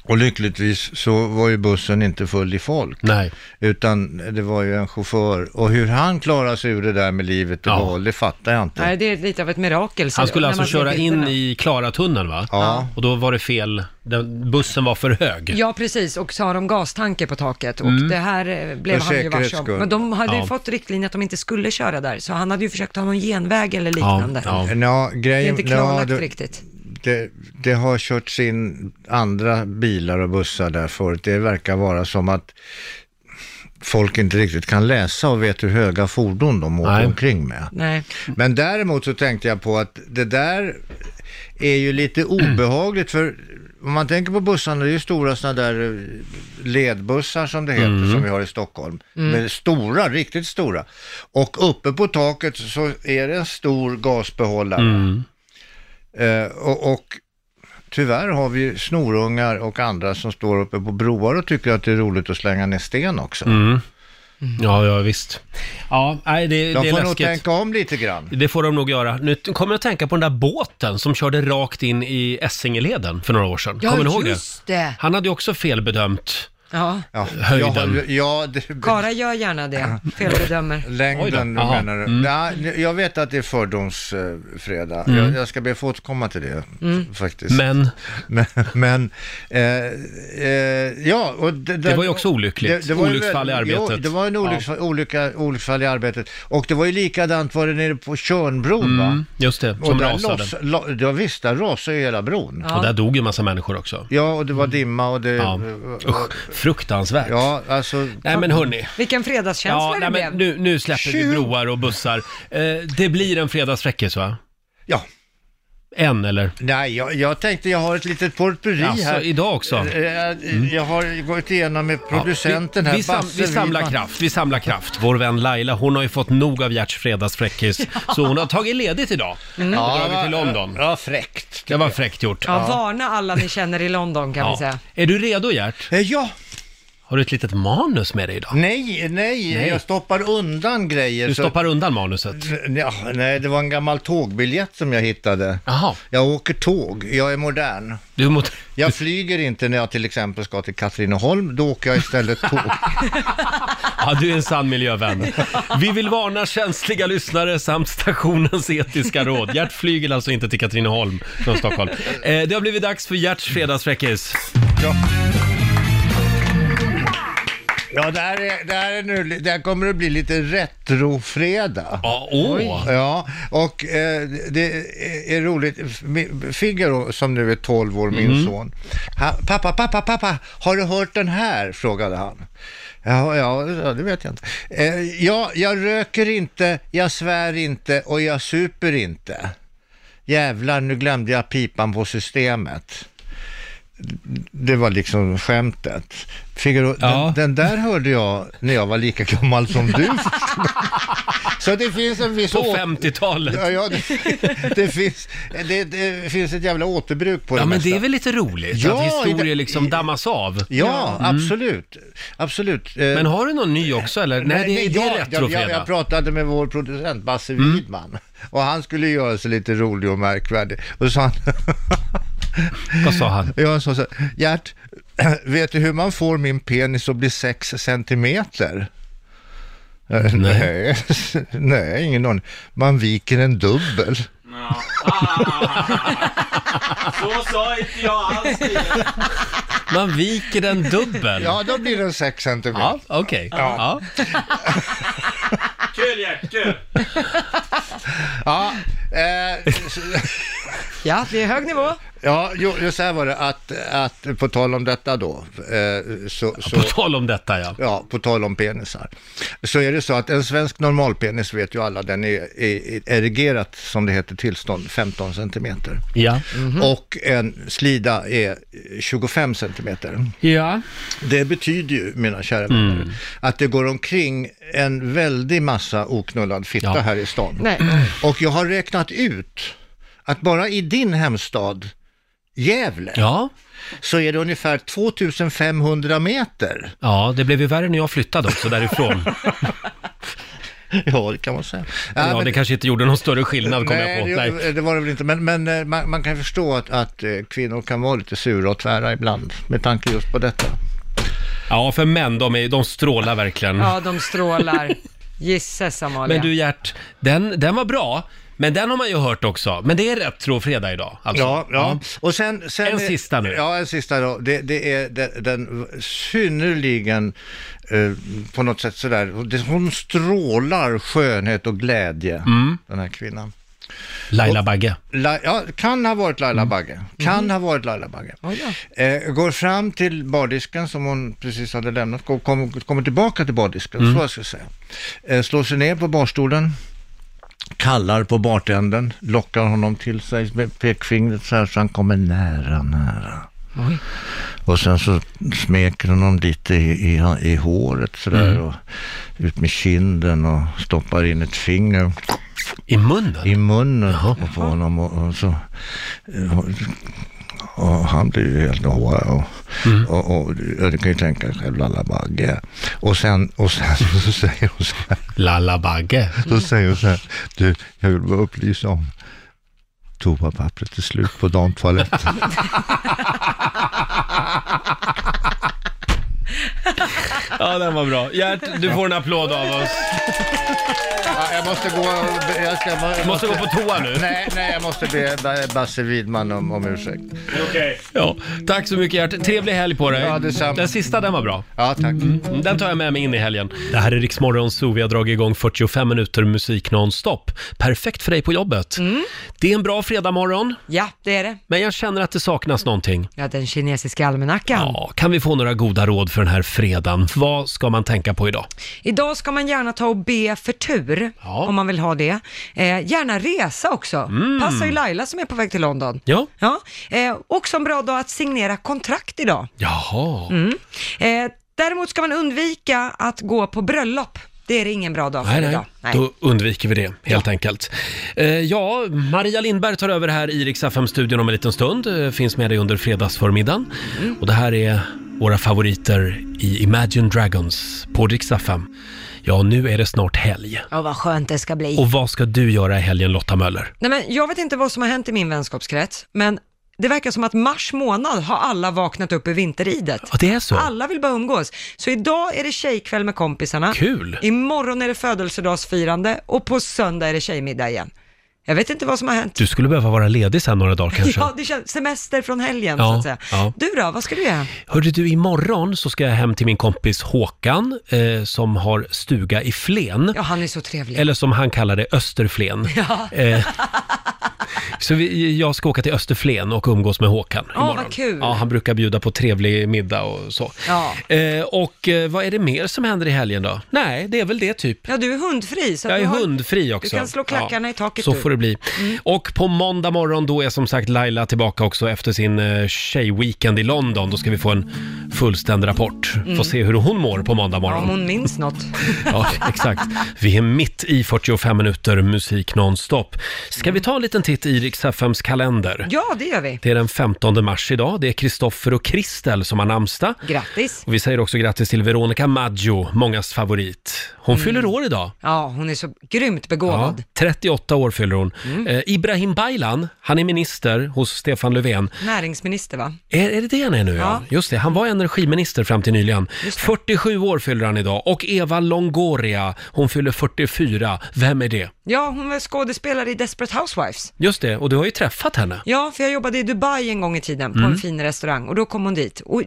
Speaker 12: Och lyckligtvis så var ju bussen inte full i folk.
Speaker 1: Nej.
Speaker 12: Utan det var ju en chaufför. Och hur han klarade sig ur det där med livet och
Speaker 1: Ja.
Speaker 12: behåll, det fattar jag inte.
Speaker 2: Nej, det är lite av ett mirakel. säger
Speaker 1: Han
Speaker 2: jag,
Speaker 1: skulle
Speaker 2: när
Speaker 1: alltså
Speaker 2: man ser
Speaker 1: köra in
Speaker 2: bilderna.
Speaker 1: i Klaratunneln va?
Speaker 12: Ja.
Speaker 1: Och då var det fel, den, bussen var för hög.
Speaker 2: Ja, precis. Och så har de gastanke på taket. Och
Speaker 1: Mm.
Speaker 2: det här eh, blev
Speaker 1: För
Speaker 2: han ju
Speaker 1: säkerhets
Speaker 2: varse om.
Speaker 1: skull.
Speaker 2: Men de hade
Speaker 1: Ja.
Speaker 2: ju fått riktlinjer att de inte skulle köra där. Så han hade ju försökt ha någon genväg eller liknande.
Speaker 12: Nå, grejen,
Speaker 2: Det är inte klarlagt
Speaker 12: nå, det-
Speaker 2: riktigt.
Speaker 12: Det, det har körts in andra bilar och bussar där förut. Det verkar vara som att folk inte riktigt kan läsa och vet hur höga fordon de åker
Speaker 1: Nej.
Speaker 12: omkring med.
Speaker 2: Nej.
Speaker 12: Men däremot så tänkte jag på att det där är ju lite obehagligt för om man tänker på bussarna, det är ju stora sådana där eh, ledbussar som det heter
Speaker 1: Mm.
Speaker 12: som vi har i Stockholm.
Speaker 1: Mm.
Speaker 12: Med stora, riktigt stora. Och uppe på taket så är det en stor gasbehållare.
Speaker 1: Mm.
Speaker 12: Eh, och, och tyvärr har vi ju snorungar och andra som står uppe på broar och tycker att det är roligt att slänga ner sten också.
Speaker 1: Mm. Ja, ja visst. Ja, nej, det,
Speaker 12: De
Speaker 1: det är
Speaker 12: får nog
Speaker 1: läskigt.
Speaker 12: tänka om lite grann.
Speaker 1: Det får de nog göra. Nu t- kommer jag att tänka på den där båten som körde rakt in i Essingeleden för några år sedan.
Speaker 2: Ja,
Speaker 1: kommer ni ihåg
Speaker 2: just
Speaker 1: det?
Speaker 2: det.
Speaker 1: Han hade ju också felbedömt
Speaker 2: Ja.
Speaker 1: höjden.
Speaker 12: Ja,
Speaker 2: Kara gör gärna det. Felbedömer.
Speaker 1: Oj då.
Speaker 12: Längden
Speaker 1: Jaha.
Speaker 12: menar du?
Speaker 1: Mm.
Speaker 12: Nej, jag vet att det är fördomsfredag.
Speaker 1: Mm.
Speaker 12: Jag, jag ska be att få återkomma till det
Speaker 1: Mm.
Speaker 12: f- faktiskt.
Speaker 1: Men?
Speaker 12: Men, men, eh, eh, ja, och det,
Speaker 1: Det var ju också olyckligt.
Speaker 12: ju
Speaker 1: Olycksfall i
Speaker 12: väl- jo,
Speaker 1: arbetet.
Speaker 12: det var en olycksfall, olycka, olycksfall i arbetet. Och det var ju likadant var det nere på Tjörnbron va?
Speaker 1: Mm, just det,
Speaker 12: och
Speaker 1: som
Speaker 12: där
Speaker 1: rasade.
Speaker 12: loss- la, ja, visst, där rasade ju hela bron.
Speaker 1: Och där dog ju en massa människor också.
Speaker 12: Ja, och det var dimma och det...
Speaker 1: Ja. Usch, fruktansvärt.
Speaker 12: Ja, alltså...
Speaker 1: Nej men hörni.
Speaker 2: Vilken fredagskänsla
Speaker 1: Ja,
Speaker 2: det
Speaker 1: nej,
Speaker 2: blev.
Speaker 1: men nu, nu släpper vi broar och bussar. Eh, det blir en fredagsfräckis va?
Speaker 12: Ja.
Speaker 1: En eller?
Speaker 12: Nej, jag, jag tänkte jag har ett litet portpurri
Speaker 1: Jaså,
Speaker 12: här.
Speaker 1: Alltså, idag också? Mm.
Speaker 12: Eh, eh, Jag har gått igenom med producenten
Speaker 1: vi,
Speaker 12: här,
Speaker 1: vi, sam,
Speaker 12: Basse
Speaker 1: vi samlar
Speaker 12: Widman.
Speaker 1: kraft, vi samlar kraft. Vår vän Laila, hon har ju fått nog av Gerts fredagsfräckis, så hon har tagit ledigt idag
Speaker 2: Mm.
Speaker 1: och
Speaker 2: Ja,
Speaker 1: dragit till
Speaker 2: vad-
Speaker 1: London.
Speaker 12: Ja, fräckt.
Speaker 1: Det var fräckt gjort.
Speaker 2: Ja, varna alla ni känner i London kan
Speaker 1: Ja.
Speaker 2: vi säga.
Speaker 1: Är du redo Gert?
Speaker 12: Eh, Ja.
Speaker 1: Har du ett litet manus med dig idag?
Speaker 12: Nej, nej,
Speaker 1: Nej.
Speaker 12: jag stoppar undan grejer.
Speaker 1: Du
Speaker 12: så-
Speaker 1: stoppar undan manuset?
Speaker 12: Ja, nej, det var en gammal tågbiljett som jag hittade.
Speaker 1: Aha.
Speaker 12: Jag åker tåg, jag är modern.
Speaker 1: Du mot...
Speaker 12: Jag flyger inte när jag till exempel ska till Katrineholm, då åker jag istället tåg.
Speaker 1: Ja, du är en sann miljövän. Vi vill varna känsliga lyssnare samt stationens etiska råd. Gert flyger alltså inte till Katrineholm från Stockholm. Eh, det har blivit dags för Gerts fredagsfräckis.
Speaker 12: Ja. Ja, det här, är, det här, är nu, det här kommer att bli lite retrofredag.
Speaker 1: Ja, åh.
Speaker 12: Ja, och eh, det är roligt. Figaro, som nu är 12 år, min
Speaker 16: Mm.
Speaker 12: son. Han, pappa, pappa, pappa, har du hört den här? frågade han. Ja, ja, ja, det vet jag inte. Eh, ja, jag röker inte, jag svär inte och jag super inte. Jävlar, nu glömde jag pipan på systemet. Det var liksom skämtet. Figaro, den, den där hörde jag när jag var lika gammal som du. Så det finns en viss...
Speaker 1: På
Speaker 12: å-
Speaker 1: 50-talet.
Speaker 12: Ja, ja, det, det, finns, det, det finns ett jävla återbruk på det
Speaker 1: Ja, men
Speaker 12: mesta.
Speaker 1: det är väl lite roligt
Speaker 12: Ja,
Speaker 1: att historier
Speaker 12: det-
Speaker 1: liksom dammas av?
Speaker 12: Ja,
Speaker 1: Mm.
Speaker 12: absolut. absolut. Eh,
Speaker 1: Men har du någon ny också eller? Nej, det, det är Mm.
Speaker 12: jag, jag, jag,
Speaker 1: retrofredag.
Speaker 12: jag pratade med vår producent Basse Widman och han skulle göra sig lite rolig och märkvärdig. Och sa han...
Speaker 1: Vad sa han?
Speaker 12: Ja, han sa så här, Gert, vet du hur man får min penis att bli 6 centimeter? Eh, Nej. Nej, ingen aning. Man viker en dubbel.
Speaker 5: Så sa inte jag alls det.
Speaker 1: Man viker den dubbel.
Speaker 12: Ja, då blir den 6 centimeter.
Speaker 1: Ja, okej. Ja.
Speaker 5: Kul Gert, kul!
Speaker 12: Ja, eh, så-
Speaker 2: Ja, det är hög nivå.
Speaker 12: ja jo, jo, så här var det att, att på tal om detta då. Eh, så, så,
Speaker 1: På tal om detta ja.
Speaker 12: ja, på tal om penisar. Så är det så att en svensk normalpenis vet ju alla, den är, är, är erigerat som det heter tillstånd 15 centimeter.
Speaker 1: Ja.
Speaker 12: Och en slida är 25 centimeter.
Speaker 1: Ja.
Speaker 12: Det betyder ju, mina kära
Speaker 1: Mm.
Speaker 12: vänner, att det går omkring en väldig massa oknullad fitta
Speaker 1: Ja.
Speaker 12: här i stan.
Speaker 2: Nej.
Speaker 12: Och jag har räknat ut att bara i din hemstad Gävle, så är det ungefär 2500 meter.
Speaker 1: Mm. Ja, det blev ju värre när jag flyttade också därifrån.
Speaker 12: Ja, det kan man säga.
Speaker 1: Ja,
Speaker 12: men-
Speaker 1: det kanske inte gjorde någon större skillnad kom jag på.
Speaker 12: Nej, det, det var det väl inte. Men, men eh, man, man kan förstå att, att eh, kvinnor kan vara lite sura och tvära ibland med tanke just på detta.
Speaker 1: Ja, för män, de, är, de strålar verkligen.
Speaker 2: Ja, de strålar. Gisses Amalia.
Speaker 1: Men du Gert, den, den var bra, men den har man ju hört också. Men det är retrofredag idag alltså.
Speaker 12: Ja, ja. Och sen, sen
Speaker 1: En sista nu.
Speaker 12: Ja, en sista då. Det, det är den, den synnerligen eh, på något sätt sådär, det- hon strålar skönhet och glädje, den här kvinnan.
Speaker 1: Mm. Laila Bagge. Mm.
Speaker 12: La, ja, kan ha varit Laila Bagge. Kan ha varit Laila Bagge. Eh, går fram till bardisken som hon precis hade lämnat, går- kom- kommer tillbaka till bardisken,
Speaker 16: Mm.
Speaker 12: så jag ska säga. Eh, slår sig ner på barstolen, kallar på bartenden, lockar honom till sig med pekfingret så här så han kommer nära, nära.
Speaker 2: Oj.
Speaker 12: Och sen så smeker hon honom lite i, i, i håret sådär
Speaker 1: Mm.
Speaker 12: och ut med kinden och stoppar in ett finger.
Speaker 1: I munnen?
Speaker 12: I munnen på honom och, och så... Och, och han blir ju helt wow.
Speaker 1: Mm.
Speaker 12: Och, och, och du kan ju tänka dig själv, Lalla Bagge. Och sen, och sen så säger hon så här.
Speaker 1: Lalla Bagge.
Speaker 12: Så säger hon så här. Du, jag vill bara upplysa om. Toapappret är slut på damtoaletten.
Speaker 1: Ja, den var bra. Gert, du får en applåd av oss.
Speaker 12: jag måste gå jag ska, jag
Speaker 1: Måste gå på toa nu.
Speaker 12: Nej, nej, jag måste be Ba- Basse Widman om, om ursäkt.
Speaker 1: Ja, tack så mycket Gert. Trevlig helg på dig.
Speaker 12: Ja, detsamma.
Speaker 1: Den sista, den var bra. Mm,
Speaker 12: Ja, tack.
Speaker 1: Den tar jag med mig in i helgen. Det här är Riksmorgon Zoo. Vi har dragit igång 45 minuter musik nonstop. Perfekt för dig på jobbet. Det är en bra fredagmorgon.
Speaker 2: Mm. Ja, det är det.
Speaker 1: Men jag känner att det saknas någonting.
Speaker 2: Ja, den kinesiska almanackan.
Speaker 1: Kan vi få några goda råd för den här fredagen. Vad ska man tänka på idag?
Speaker 2: Idag ska man gärna ta och be för tur, om man vill ha det. Eh, gärna resa också.
Speaker 1: Mm.
Speaker 2: Passar ju Laila som är på väg till London.
Speaker 1: Ja.
Speaker 2: Ja, eh, också en bra dag att signera kontrakt idag.
Speaker 1: Jaha.
Speaker 2: Mm. Eh, däremot ska man undvika att gå på bröllop. Det är ingen bra dag för
Speaker 1: Nej, nej.
Speaker 2: idag. Nej.
Speaker 1: Då undviker vi det helt enkelt. Eh, ja, Maria Lindberg tar över här i Rix FM-studion om en liten stund. Eh, finns med dig under fredagsförmiddagen.
Speaker 2: Mm.
Speaker 1: Och det här är våra favoriter i Imagine Dragons på Rix FM. Ja, nu är det snart helg.
Speaker 2: Ja, vad skönt det ska bli.
Speaker 1: Och vad ska du göra i helgen Lotta Möller?
Speaker 2: Nej, men jag vet inte vad som har hänt i min vänskapskrets, men det verkar som att mars månad har alla vaknat upp ur vinteridet.
Speaker 1: Ja, det är så.
Speaker 2: Alla vill bara umgås. Så idag är det tjejkväll med kompisarna.
Speaker 1: Kul.
Speaker 2: Imorgon är det födelsedagsfirande och på söndag är det tjejmiddag igen. Jag vet inte vad som har hänt.
Speaker 1: Du skulle behöva vara ledig sen några dagar kanske.
Speaker 2: Ja, det känns semester från helgen
Speaker 1: Ja,
Speaker 2: så att säga.
Speaker 1: ja.
Speaker 2: Du då, vad ska du göra?
Speaker 1: Hörde du, imorgon så ska jag hem till min kompis Håkan eh, som har stuga i Flen.
Speaker 2: Ja, han är så trevlig.
Speaker 1: Eller som han kallar det, Österflen.
Speaker 2: Ja.
Speaker 1: Eh, så vi, jag ska åka till Österflen och umgås med Håkan
Speaker 2: Åh,
Speaker 1: imorgon.
Speaker 2: vad kul.
Speaker 1: Ja, han brukar bjuda på trevlig middag och så.
Speaker 2: Ja.
Speaker 1: Eh, och eh, vad är det mer som händer i helgen då? Nej, det är väl det typ.
Speaker 2: Ja, du är hundfri. Så
Speaker 1: jag
Speaker 2: att
Speaker 1: är
Speaker 2: du har-
Speaker 1: hundfri också.
Speaker 2: Du kan slå klackarna i taket
Speaker 1: Så
Speaker 2: du. Mm.
Speaker 1: får det bli. Och på måndag morgon då är som sagt Laila tillbaka också efter sin eh, tjejweekend i London. Då ska vi få en fullständig rapport.
Speaker 2: Mm.
Speaker 1: Få se hur hon mår på
Speaker 2: Ja,
Speaker 1: måndag
Speaker 2: om
Speaker 1: morgon.
Speaker 2: hon minns något.
Speaker 1: Ja, exakt. Vi är mitt i 45 minuter musik nonstop. Ska vi ta en liten titt i Rix FMs kalender?
Speaker 2: Ja, det gör vi.
Speaker 1: Det är den 15 mars idag. Det är Kristoffer och Kristel som har namnsdag.
Speaker 2: Grattis.
Speaker 1: Och vi säger också grattis till Veronica Maggio, mångas favorit. Hon
Speaker 2: Mm.
Speaker 1: fyller år idag.
Speaker 2: Ja, hon är så grymt
Speaker 1: Ja,
Speaker 2: begåvad.
Speaker 1: 38 år fyller hon.
Speaker 2: Mm.
Speaker 1: Eh, Ibrahim Baylan, han är minister hos Stefan Löfven.
Speaker 2: Näringsminister va?
Speaker 1: Är, är det det han är nu? Ja.
Speaker 2: Ja.
Speaker 1: Just det, han var energiminister fram till nyligen. 47 år fyller han idag. Och Eva Longoria, hon fyller 44. Vem är det?
Speaker 2: Ja, hon var skådespelare i Desperate Housewives.
Speaker 1: Just det, och du har ju träffat henne.
Speaker 2: Ja, för jag jobbade i Dubai en gång i tiden på
Speaker 1: Mm.
Speaker 2: en fin restaurang och då kom hon dit. Och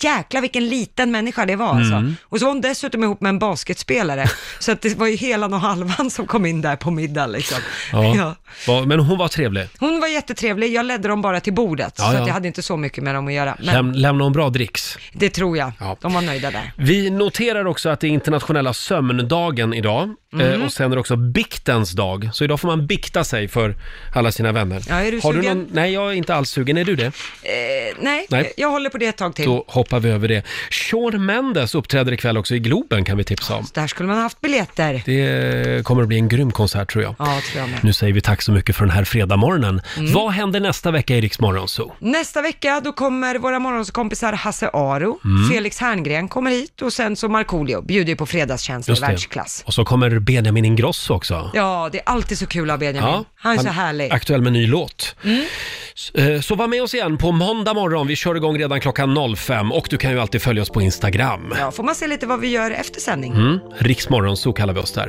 Speaker 2: jäkla vilken liten människa det var alltså.
Speaker 1: Mm.
Speaker 2: Och så var hon dessutom ihop med en basketspelare. så att det var ju helan och halvan som kom in där på middag liksom. Ja.
Speaker 1: Va- Men hon var trevlig.
Speaker 2: Hon var jättetrevlig, jag ledde dem bara till bordet.
Speaker 1: Ja,
Speaker 2: så
Speaker 1: ja.
Speaker 2: Att jag hade inte så mycket med dem att göra. Men
Speaker 1: Läm, lämnade hon bra dricks?
Speaker 2: det tror jag. De var nöjda där.
Speaker 1: Vi noterar också att det är internationella sömndagen idag.
Speaker 2: Mm.
Speaker 1: Eh, och sen är det också biktens dag. Så idag får man bikta sig för alla sina vänner.
Speaker 2: Ja, är du
Speaker 1: har du
Speaker 2: sugen?
Speaker 1: någon... Nej, jag är inte alls sugen. Är du det?
Speaker 2: Eh, nej,
Speaker 1: Nej.
Speaker 2: jag håller på det ett tag till.
Speaker 1: Då hoppar vi över det. Shawn Mendes uppträder ikväll också i Globen kan vi tipsa om.
Speaker 2: Där skulle man ha haft biljetter.
Speaker 1: Det kommer att bli en grym konsert tror jag.
Speaker 2: Ja, tror jag med.
Speaker 1: Nu säger vi tack så mycket för den här fredagmorgonen.
Speaker 2: Mm.
Speaker 1: Vad händer nästa vecka i Rix Morgon Zoo?
Speaker 2: Nästa vecka då kommer våra morgonskompisar Hasse Aro,
Speaker 1: Mm.
Speaker 2: Felix Herngren kommer hit och sen så Markoolio bjuder ju på fredagstjänster i
Speaker 1: Just det.
Speaker 2: världsklass.
Speaker 1: Och så kommer Benjamin Ingrosso också.
Speaker 2: Ja, det är alltid så kul att ha Benjamin. han är så härlig. Mm.
Speaker 1: Aktuell med ny låt. S- eh, Så var med oss igen på måndag morgon. Vi kör igång redan klockan 05 och du kan ju alltid följa oss på Instagram.
Speaker 2: Ja, får man se lite vad vi gör efter sändning.
Speaker 1: Mm. Riksmorgon, så kallar vi oss där.